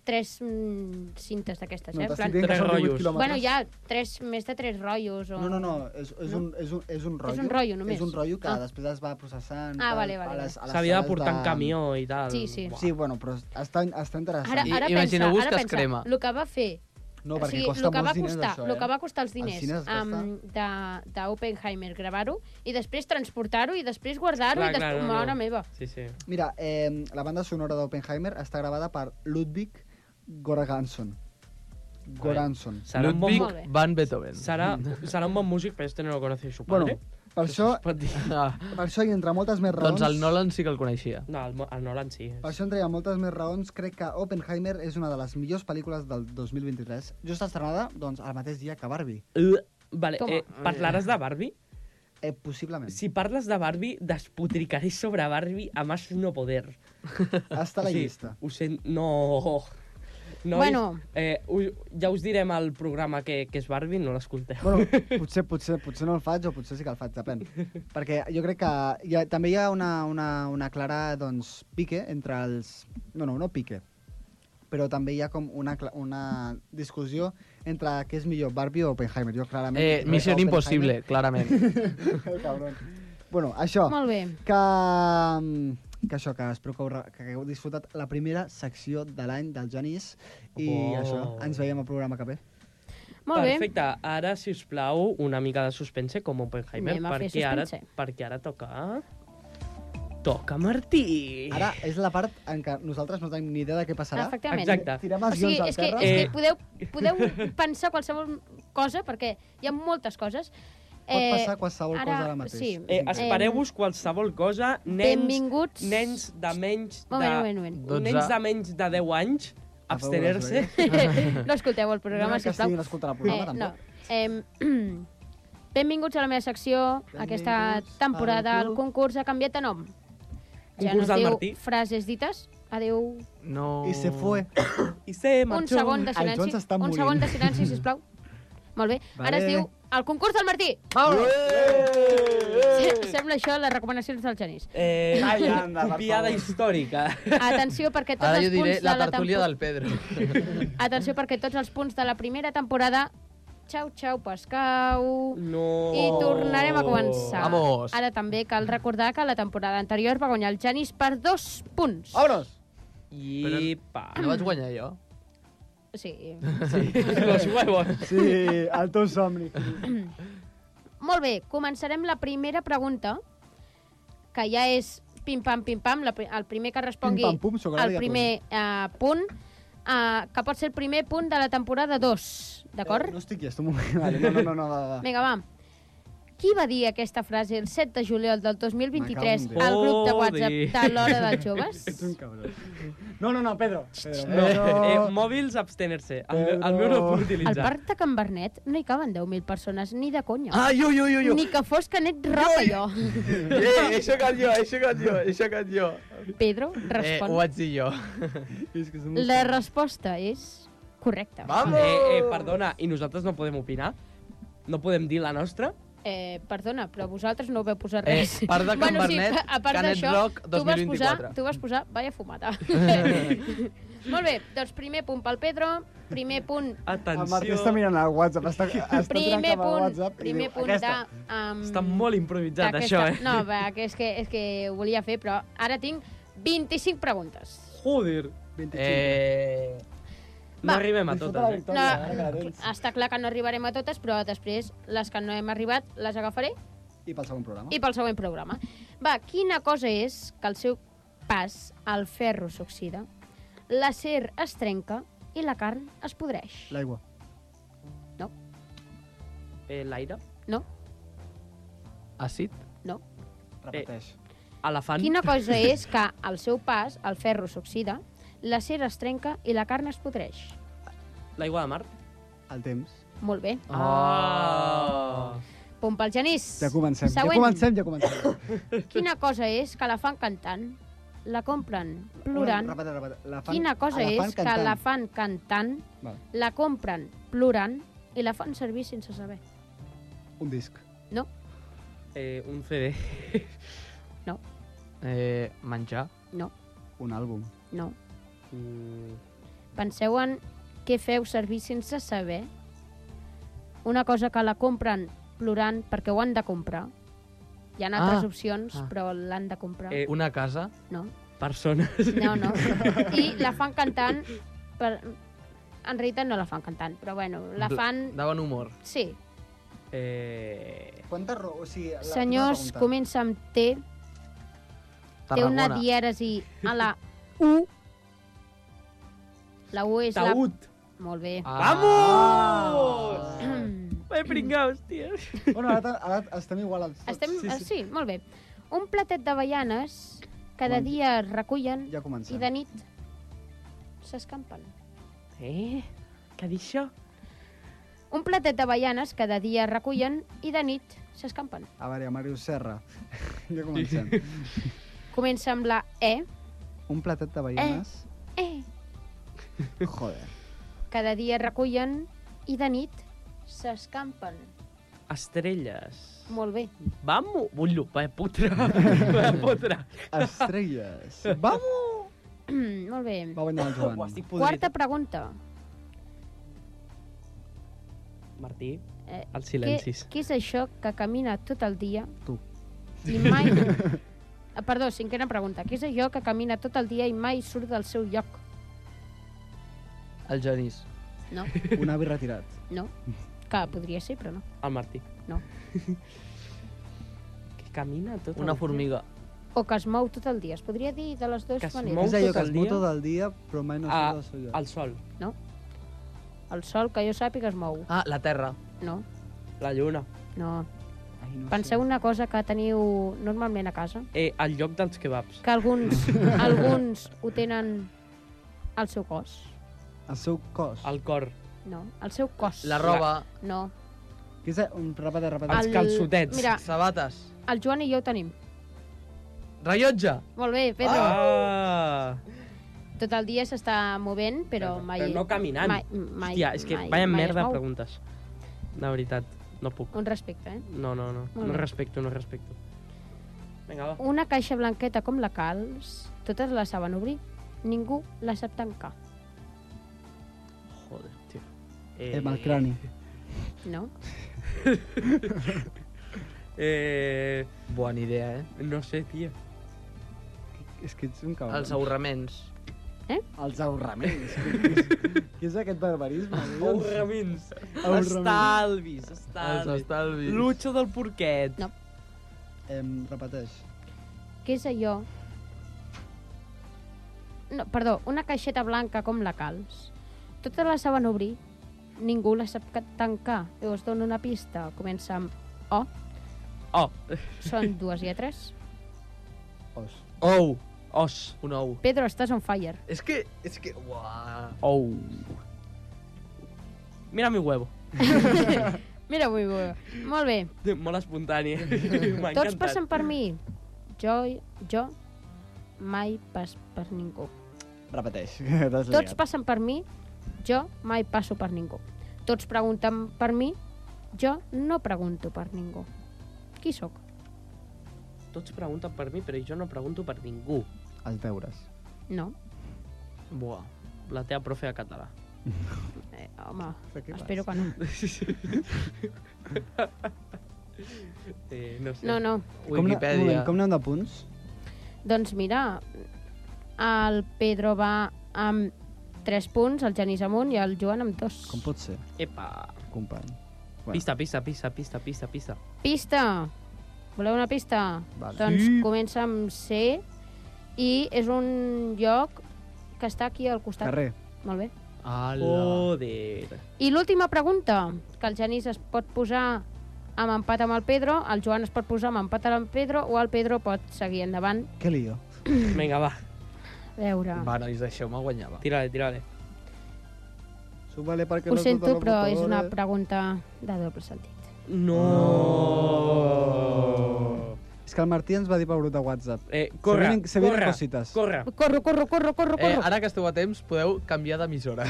Speaker 4: tres mm, cintes d'aquestes,
Speaker 6: no
Speaker 4: eh? En
Speaker 6: t'estic
Speaker 4: plan-
Speaker 6: dient que
Speaker 5: Tres
Speaker 6: són 18
Speaker 5: rotllos.
Speaker 6: quilòmetres.
Speaker 4: Bueno, ja, tres, més de tres rotllos. O...
Speaker 6: No, no, no, és, és, un, és, un, és un rotllo.
Speaker 4: un rotllo, només.
Speaker 6: És un rotllo que
Speaker 4: Ah.
Speaker 6: després es va processant.
Speaker 4: Ah,
Speaker 6: tal,
Speaker 4: vale, vale,
Speaker 6: a les- a les
Speaker 5: S'havia de
Speaker 6: sales
Speaker 5: portar en camió i tal.
Speaker 4: Sí, sí.
Speaker 5: Buah.
Speaker 6: Sí, bueno, però està, està interessant.
Speaker 4: Ara,
Speaker 7: I-
Speaker 4: ara pensa,
Speaker 7: imagineu-vos
Speaker 4: ara
Speaker 7: que es
Speaker 4: pensa,
Speaker 7: crema.
Speaker 4: el que va fer
Speaker 6: No, perquè
Speaker 4: o sigui,
Speaker 6: costa
Speaker 4: el que va
Speaker 6: molts diners,
Speaker 4: costar,
Speaker 6: això,
Speaker 4: el que va
Speaker 6: eh?
Speaker 4: costar els diners
Speaker 6: cine es gasta.
Speaker 4: d'Oppenheimer, de, Oppenheimer, gravar-ho, i després transportar-ho, i després guardar-ho,
Speaker 5: Clar,
Speaker 4: i després...
Speaker 5: clar, no, no.
Speaker 4: Mare meva.
Speaker 5: Sí, sí.
Speaker 6: Mira, eh, la banda sonora d'Oppenheimer està gravada per Ludwig Goransson. Goransson.
Speaker 5: Serà un, bon,
Speaker 7: Ludwig
Speaker 4: Molt bé.
Speaker 7: van Beethoven.
Speaker 5: serà, serà un bon músic, però este no lo conoce su
Speaker 6: Mm. Bueno,
Speaker 5: padre.
Speaker 6: per això,
Speaker 7: Es pot dir. Ah,
Speaker 6: per això i entre moltes més raons...
Speaker 7: doncs el Nolan sí que el coneixia.
Speaker 5: No, el, Mo- el Nolan sí. eh.
Speaker 6: Per això, entre moltes més raons, crec que Oppenheimer és una de les millors pel·lícules del 2023. Just estrenada, doncs, el mateix dia que Barbie.
Speaker 5: Uh, vale,
Speaker 4: Toma.
Speaker 5: eh, parlaràs de Barbie?
Speaker 6: Eh, possiblement.
Speaker 5: Si parles de Barbie, despotricaré sobre Barbie a más no poder.
Speaker 6: Està a la
Speaker 5: O sigui,
Speaker 6: llista.
Speaker 5: Ho sent... No... Nois,
Speaker 4: Bueno.
Speaker 5: eh, us, ja us direm al programa que, que és Barbie, no l'escolteu.
Speaker 6: Bueno, potser, potser, potser no el faig o potser sí que el faig, depèn. Perquè jo crec que hi ha, també hi ha una, una, una clara doncs, pique entre els... No, no, no pique. Però també hi ha com una, cla- una discussió entre què és millor, Barbie o Oppenheimer. Jo clarament...
Speaker 7: Eh, Missió Impossible, clarament.
Speaker 6: Cabron. Oh, Bueno, això...
Speaker 4: Molt bé.
Speaker 6: que, que això, que espero que, heu, re- que hagueu disfrutat la primera secció de l'any del Genís i
Speaker 5: Oh.
Speaker 6: això, ens veiem al programa que ve.
Speaker 4: Molt bé.
Speaker 5: Perfecte. Ara, si us plau, una mica de suspense com Oppenheimer,
Speaker 4: Anem a fer
Speaker 5: perquè ara,
Speaker 4: suspense.
Speaker 5: perquè ara toca... Toca, Martí!
Speaker 6: Ara és la part en què nosaltres no tenim ni idea de què passarà.
Speaker 4: Efectivament.
Speaker 5: Exacte.
Speaker 6: Tirem
Speaker 4: O
Speaker 6: els
Speaker 4: sigui,
Speaker 6: guions al
Speaker 4: és que,
Speaker 6: terra.
Speaker 4: és
Speaker 5: Eh.
Speaker 4: que podeu, podeu pensar qualsevol cosa, perquè hi ha moltes coses.
Speaker 6: Pot passar qualsevol
Speaker 4: eh, ara-
Speaker 6: cosa ara mateix.
Speaker 4: sí.
Speaker 5: Eh, Espereu-vos qualsevol cosa. Nens,
Speaker 4: Benvinguts.
Speaker 5: nens de menys de...
Speaker 4: Moment, moment, moment.
Speaker 7: Dotze.
Speaker 5: Nens de menys de 10 anys, abstener-se.
Speaker 4: No escolteu el programa,
Speaker 6: no, que
Speaker 4: sisplau.
Speaker 6: estiguin escoltant el programa,
Speaker 4: Eh, no.
Speaker 6: tampoc.
Speaker 4: Eh, benvinguts a la meva secció. Aquesta
Speaker 6: Benvinguts
Speaker 4: temporada
Speaker 6: al
Speaker 4: el
Speaker 6: club.
Speaker 4: concurs ha canviat de nom. Ja no
Speaker 5: Concurs
Speaker 4: es
Speaker 5: del
Speaker 4: diu
Speaker 5: Martí.
Speaker 4: frases dites. Adéu.
Speaker 7: No...
Speaker 6: I se fue.
Speaker 5: I se
Speaker 4: Un
Speaker 5: marxó.
Speaker 4: segon de
Speaker 6: El Joan
Speaker 4: silenci.
Speaker 6: s'està
Speaker 4: Un
Speaker 6: morint.
Speaker 4: segon de silenci, sisplau. Molt bé. Ara es
Speaker 6: Vale.
Speaker 4: diu el concurs del Martí. Se- Sembla això les recomanacions del Genís.
Speaker 5: Eh,
Speaker 6: Ai, anda, per
Speaker 5: copiada
Speaker 6: favor.
Speaker 5: històrica.
Speaker 4: Atenció perquè tots
Speaker 7: Ara
Speaker 4: els
Speaker 7: jo diré
Speaker 4: punts
Speaker 7: la
Speaker 4: de la
Speaker 7: tertúlia del Pedro.
Speaker 4: tempo- Atenció perquè tots els punts de la primera temporada Xau, xau, pescau.
Speaker 5: No.
Speaker 4: I tornarem a començar.
Speaker 7: Vamos.
Speaker 4: Ara també cal recordar que la temporada anterior va guanyar el Janis per dos punts.
Speaker 6: Obros!
Speaker 5: I pa.
Speaker 7: No vaig guanyar jo.
Speaker 4: Sí.
Speaker 5: Los huevos.
Speaker 6: Sí, el teu somni.
Speaker 4: Molt bé, començarem la primera pregunta, que ja és pim-pam, pim-pam, la pri- el primer que respongui
Speaker 6: Pim, pam, pum, xocolata i
Speaker 4: el primer eh, punt, eh, que pot ser el primer punt de la temporada 2, d'acord?
Speaker 6: Eh, no estic llest, un moment. Vale, no, no, no, no, va, va.
Speaker 4: Vinga, va. Qui va dir aquesta frase el 7 de juliol del 2023
Speaker 6: Me cago en
Speaker 4: al grup de
Speaker 5: Joder.
Speaker 4: WhatsApp de l'Hora dels Joves?
Speaker 6: Ets un cabró. No, no, no, Pedro. Pedro,
Speaker 5: Eh,
Speaker 6: Pedro.
Speaker 5: mòbils, abstener-se. El, meu- el
Speaker 6: Però-
Speaker 5: meu no el puc
Speaker 4: Al
Speaker 5: utilitzar.
Speaker 4: parc de Can Bernet no hi caben 10.000 persones, ni de conya.
Speaker 7: Ai, ui, ui,
Speaker 4: Ni que fos Canet Roca, jo.
Speaker 7: Eh, he xocat jo, he xocat jo, he xocat jo.
Speaker 4: Pedro,
Speaker 7: Eh, ho
Speaker 4: respon.
Speaker 7: vaig dir jo.
Speaker 6: És que som uns-
Speaker 4: La resposta és correcta.
Speaker 7: Vamos!
Speaker 5: Eh, eh, perdona, i nosaltres no podem opinar? No podem dir la nostra?
Speaker 4: Eh, perdona, però vosaltres no ho veu posar
Speaker 7: Eh,
Speaker 4: res.
Speaker 7: part de Can Bernet,
Speaker 4: a a part
Speaker 7: Canet
Speaker 4: d'això,
Speaker 7: Rock
Speaker 4: tu vas
Speaker 7: 2024.
Speaker 4: posar, tu vas posar vaya fumada. Molt bé, doncs primer punt pel Pedro, primer punt
Speaker 5: Atenció.
Speaker 6: El Martí està mirant el WhatsApp, està, està tirant
Speaker 4: primer
Speaker 6: cap al
Speaker 4: punt,
Speaker 6: WhatsApp i
Speaker 4: primer
Speaker 6: diu,
Speaker 4: punt
Speaker 6: aquesta.
Speaker 4: de... Um,
Speaker 5: Està molt improvisat, això, eh?
Speaker 4: No, va, que és, que, és que ho volia fer, però ara tinc 25 preguntes.
Speaker 5: Joder.
Speaker 7: Eh...
Speaker 5: No
Speaker 4: Va.
Speaker 5: arribem a
Speaker 6: Disfruta la
Speaker 5: totes, eh?
Speaker 6: victòria, ara que la tens.
Speaker 4: està clar que no arribarem a totes, però després les que no hem arribat les agafaré
Speaker 6: I pel segon programa.
Speaker 4: i pel següent programa. Va, quina cosa és que el seu pas al ferro s'oxida, l'acer es trenca i la carn es podreix?
Speaker 6: L'aigua.
Speaker 5: eh L'aire?
Speaker 4: No,
Speaker 7: Àcid?
Speaker 4: no. Eh.
Speaker 6: Repeteix.
Speaker 5: Elefant?
Speaker 4: Quina cosa és que al seu pas al ferro s'oxida, l'acer es trenca i la carn es podreix?
Speaker 5: L'aigua de mar?
Speaker 6: El temps.
Speaker 4: Molt bé.
Speaker 5: Ah.
Speaker 4: Punt pel Genís.
Speaker 6: Ja comencem.
Speaker 4: Següent.
Speaker 6: Ja comencem, ja comencem.
Speaker 4: Quina cosa és que la fan cantant, la compren plorant...
Speaker 6: Repete, repete. La fan,
Speaker 4: Quina cosa
Speaker 6: la fan
Speaker 4: és que
Speaker 6: cantant.
Speaker 4: la fan cantant,
Speaker 6: Val.
Speaker 4: la compren plorant i la fan servir sense saber?
Speaker 6: Un disc.
Speaker 4: No,
Speaker 5: Eh, un CD.
Speaker 4: no,
Speaker 7: Eh, menjar?
Speaker 4: no,
Speaker 6: Un àlbum.
Speaker 4: no.
Speaker 5: Mm,
Speaker 4: Penseu en què feu servir sense saber. Una cosa que la compren plorant perquè ho han de comprar. Hi ha altres
Speaker 7: Ah.
Speaker 4: opcions,
Speaker 7: Ah.
Speaker 4: però l'han de comprar.
Speaker 5: Eh,
Speaker 7: Una casa?
Speaker 4: No,
Speaker 5: persones.
Speaker 4: no, no. I la fan cantant... Per... En realitat no la fan cantant, però bueno, la
Speaker 7: Bl-
Speaker 4: fan...
Speaker 7: De bon humor.
Speaker 4: Sí.
Speaker 5: Eh,
Speaker 6: Quanta raó... O sigui, la,
Speaker 4: Senyors,
Speaker 6: tota la pregunta.
Speaker 4: comença amb T, té una
Speaker 7: Tarragona.
Speaker 4: dièresi a la U. La U és la...
Speaker 5: taüt.
Speaker 4: Molt bé.
Speaker 7: Ah.
Speaker 4: Oh!
Speaker 5: Vamos! Vai pringaos, tio.
Speaker 6: Bueno, ara, ara estem igual als tots.
Speaker 4: Estem... Sí, sí. sí, molt bé. Un platet d'avellanes que de
Speaker 6: Bon.
Speaker 4: dia es recullen
Speaker 6: Ja comencem.
Speaker 4: i de nit s'escampen.
Speaker 5: Eh? Què ha dit això?
Speaker 4: Un platet d'avellanes que de dia es recullen i de nit s'escampen.
Speaker 6: A veure, Màrius Serra. Ja comencem.
Speaker 4: Comença amb la E,
Speaker 6: Un platet de baianes.
Speaker 4: eh,
Speaker 6: Joder.
Speaker 4: que de dia es recullen i de nit s'escampen.
Speaker 5: Estrelles.
Speaker 4: Molt bé.
Speaker 5: Vamos! eh, Bullo, va putra. Va putra.
Speaker 6: Estrelles. Vamos!
Speaker 4: molt bé.
Speaker 6: Va guanyar el Joan.
Speaker 5: Ho estic podrit.
Speaker 4: Quarta pregunta.
Speaker 5: Martí,
Speaker 4: Eh,
Speaker 5: els silencis.
Speaker 4: Què, què és això que camina tot el dia?
Speaker 6: Tu.
Speaker 4: I mai... Ah, Perdó, cinquena pregunta. Què és allò que camina tot el dia i mai surt del seu lloc?
Speaker 7: Ah, El Genís.
Speaker 4: No,
Speaker 6: Un avi retirat.
Speaker 4: no. Que podria ser, però no.
Speaker 5: El Martí.
Speaker 4: No.
Speaker 5: Que camina tot
Speaker 7: Una
Speaker 5: el dia.
Speaker 7: formiga.
Speaker 4: o que es mou tot el dia. Es podria dir de les dues
Speaker 5: Que es
Speaker 4: maneres.
Speaker 5: mou
Speaker 6: És allò
Speaker 5: tot
Speaker 6: que
Speaker 5: el
Speaker 6: es mou
Speaker 5: dia?
Speaker 6: tot el dia, però mai no
Speaker 5: Ah,
Speaker 6: surt del seu lloc.
Speaker 5: El sol,
Speaker 4: El sol, que jo sàpiga, es mou.
Speaker 7: Ah, la Terra.
Speaker 4: No,
Speaker 5: la lluna,
Speaker 4: no.
Speaker 6: Ai, no
Speaker 4: Penseu una cosa que teniu normalment a casa,
Speaker 5: eh, el lloc dels kebabs.
Speaker 4: que alguns, alguns ho tenen al seu cos.
Speaker 6: El seu cos. El...
Speaker 5: El cor,
Speaker 4: No, al seu cos.
Speaker 7: La roba.
Speaker 4: No.
Speaker 6: Que és un repete, repete.
Speaker 5: Els
Speaker 4: El-
Speaker 5: calçotets.
Speaker 4: Mira,
Speaker 7: Sabates.
Speaker 4: el Joan i jo ho tenim.
Speaker 7: Rellotge.
Speaker 4: Molt bé, Pedro.
Speaker 5: Ah!
Speaker 4: Tot el dia s'està movent, però
Speaker 5: Però-
Speaker 4: mai...
Speaker 5: però no caminant.
Speaker 4: Mai, mai,
Speaker 5: Hòstia, és que
Speaker 4: mai,
Speaker 5: vaya
Speaker 4: mai es
Speaker 5: merda
Speaker 4: mou.
Speaker 5: de preguntes. De veritat, no puc.
Speaker 4: Un respecte, eh?
Speaker 5: No, no, no.
Speaker 4: Molt
Speaker 5: No
Speaker 4: bé.
Speaker 5: respecto, no respecto. Vinga, va.
Speaker 4: Una caixa blanqueta com la calç, totes la saben obrir, ningú la sap tancar,
Speaker 5: Joder, tio. Eh,
Speaker 6: Amb el crani.
Speaker 4: no?
Speaker 5: Eh,
Speaker 7: Bona idea, eh?
Speaker 5: no sé, tio.
Speaker 6: És que ets un cabró.
Speaker 7: Els avorraments.
Speaker 6: Els avorraments. Què- Què és aquest barbarisme?
Speaker 5: Aurramins.
Speaker 6: Aurramins.
Speaker 5: Estalvis,
Speaker 7: Els
Speaker 5: estalvis.
Speaker 7: estalvis.
Speaker 5: Lucha del porquet.
Speaker 4: No.
Speaker 6: Em, repeteix.
Speaker 4: Què és allò... No, perdó, una caixeta blanca com la calç. Totes la saben obrir, ningú la sap ca- tancar. Jo us dono una pista, comença amb O,
Speaker 5: Oh,
Speaker 4: són dues lletres.
Speaker 6: Os.
Speaker 5: ou, os,
Speaker 7: Un ou.
Speaker 4: Pedro, estàs on fire.
Speaker 7: És que... És que... Uah.
Speaker 5: ou. Mira mi huevo.
Speaker 4: Mira, avui, avui. Molt bé,
Speaker 5: Molt espontani. M'ha
Speaker 4: tots
Speaker 5: encantat.
Speaker 4: passen per mi. Jo, jo, mai pas per ningú.
Speaker 6: Repeteix. T'has
Speaker 4: Tots
Speaker 6: liat.
Speaker 4: passen per mi, jo mai passo per ningú. Tots pregunten per mi, jo no pregunto per ningú. Qui sóc?
Speaker 5: Tots pregunten per mi, però jo no pregunto per ningú.
Speaker 6: Els deures.
Speaker 4: No.
Speaker 5: Buah, la teva profe de català.
Speaker 4: Eh, home,
Speaker 6: Però què
Speaker 4: espero que no.
Speaker 5: Eh, no sé.
Speaker 4: No, no.
Speaker 6: Com,
Speaker 7: Wikipedia.
Speaker 6: anem- com anem de punts?
Speaker 4: Doncs mira, el Pedro va amb 3 punts, el Genís amunt i el Joan amb 2.
Speaker 6: Com pot ser,
Speaker 5: Epa.
Speaker 6: company? Bueno.
Speaker 5: Pista, pista, pista, pista, pista, pista.
Speaker 4: Pista! Voleu una pista?
Speaker 6: Vale.
Speaker 4: Doncs comença amb C i és un lloc que està aquí al costat.
Speaker 6: Carrer.
Speaker 4: Molt bé.
Speaker 7: Ala.
Speaker 5: Joder.
Speaker 4: I l'última pregunta, que el Genís es pot posar amb empat amb el Pedro, el Joan es pot posar amb empat amb el Pedro o el Pedro pot seguir endavant.
Speaker 6: Què lío?
Speaker 5: Vinga, va,
Speaker 4: A veure,
Speaker 7: Va, nois, deixeu-me guanyar, va.
Speaker 5: tira-le, tira-le.
Speaker 6: Súbale perquè
Speaker 4: ho
Speaker 6: no
Speaker 4: sento,
Speaker 6: tota la
Speaker 4: però és una
Speaker 6: computadora.
Speaker 4: pregunta de doble sentit.
Speaker 5: No.
Speaker 6: És que el Martí ens va dir pel grup de WhatsApp.
Speaker 5: Eh, corre,
Speaker 6: Se vienen- se vienen
Speaker 5: corre,
Speaker 6: cositas.
Speaker 5: corre.
Speaker 4: Corro, corro, corro, corro,
Speaker 7: Eh,
Speaker 4: corro.
Speaker 7: ara que esteu a temps, podeu canviar d'emissora.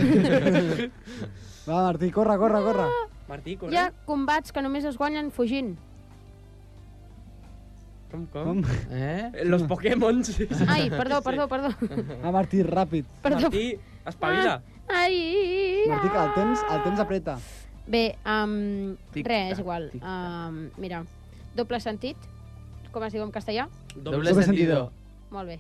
Speaker 6: Va, Martí, corre, corre, corre.
Speaker 4: Ah!
Speaker 5: Martí, corre.
Speaker 4: Hi ha combats que només es guanyen fugint.
Speaker 5: Com, com?
Speaker 6: Com?
Speaker 7: eh?
Speaker 5: Eh, Los Pokémons.
Speaker 4: Ai, perdó, perdó, perdó.
Speaker 6: Va, Martí, ràpid.
Speaker 4: perdó. Ah.
Speaker 5: Martí, espavila.
Speaker 4: Ai,
Speaker 6: Martí, que el temps, el temps apreta.
Speaker 4: Bé, um,
Speaker 7: Tic-tac,
Speaker 4: res, és igual.
Speaker 7: tic-tac.
Speaker 4: Um, mira, doble sentit, com es diu en castellà?
Speaker 7: Doble sentido.
Speaker 4: Molt bé.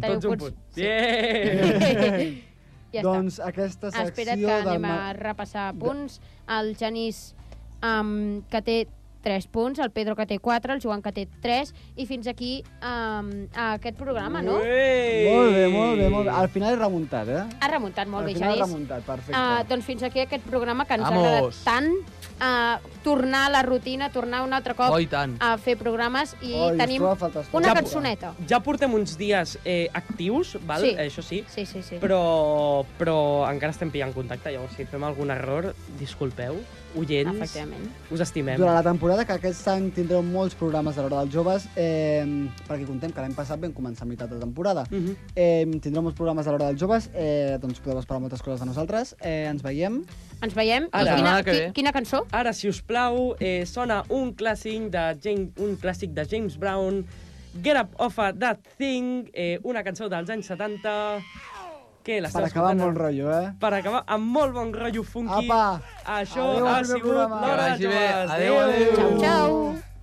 Speaker 5: Tots un punt.
Speaker 4: Sí.
Speaker 5: Yeah.
Speaker 4: ja està.
Speaker 6: doncs aquesta secció
Speaker 4: Espera't que
Speaker 6: del...
Speaker 4: anem a
Speaker 6: Mar-
Speaker 4: repassar punts. El Genís, um, que té 3 punts, el Pedro, que té 4, el Joan, que té 3, i fins aquí um, a aquest programa, no?
Speaker 5: Ué.
Speaker 6: Molt bé, molt bé, molt bé. Al final he remuntat, eh?
Speaker 4: Ha remuntat molt
Speaker 6: Al
Speaker 4: bé,
Speaker 6: final he
Speaker 4: Genís.
Speaker 6: remuntat, perfecte.
Speaker 4: Uh, doncs fins aquí aquest programa que ens
Speaker 7: Vamos.
Speaker 4: ha agradat tant. Uh, tornar a la rutina, tornar un altre cop
Speaker 7: Oh, i tant.
Speaker 4: a fer programes i
Speaker 6: Oi,
Speaker 4: tenim
Speaker 6: trobava falta escoltar.
Speaker 4: una
Speaker 5: Ja-
Speaker 4: cançoneta.
Speaker 5: Ja portem uns dies eh, actius, val?
Speaker 4: Sí.
Speaker 5: Eh, això sí.
Speaker 4: Sí, sí, sí.
Speaker 5: Però, però encara estem pillant contacte, llavors si fem algun error, disculpeu, oients,
Speaker 4: Efectivament.
Speaker 5: us estimem.
Speaker 6: Durant la temporada, que aquest any tindreu molts programes de l'Hora dels Joves, eh, perquè contem que l'any passat vam començar a meitat de temporada.
Speaker 5: Mhm.
Speaker 6: Eh, tindreu molts programes de l'Hora dels Joves, eh, doncs podeu esperar moltes coses de nosaltres. Eh, ens veiem.
Speaker 4: Ens veiem.
Speaker 5: Ara,
Speaker 4: I quina,
Speaker 7: setmana que
Speaker 4: qui-
Speaker 7: ve.
Speaker 4: quina cançó?
Speaker 5: Ara, si us plau, eh, sona un clàssic de James, un clàssic de James Brown, Get Up Off of That Thing, eh, una cançó dels anys 70, que la
Speaker 6: Per acabar amb bon
Speaker 5: molt
Speaker 6: rotllo, eh?
Speaker 5: per acabar amb molt bon rotllo funky.
Speaker 6: Apa!
Speaker 5: Això
Speaker 6: Adéu,
Speaker 5: ha
Speaker 6: primer
Speaker 5: sigut
Speaker 6: programa.
Speaker 5: l'hora de
Speaker 7: Que vagi bé.
Speaker 5: joves.
Speaker 7: Adéu, adéu.
Speaker 4: Ciao, ciao.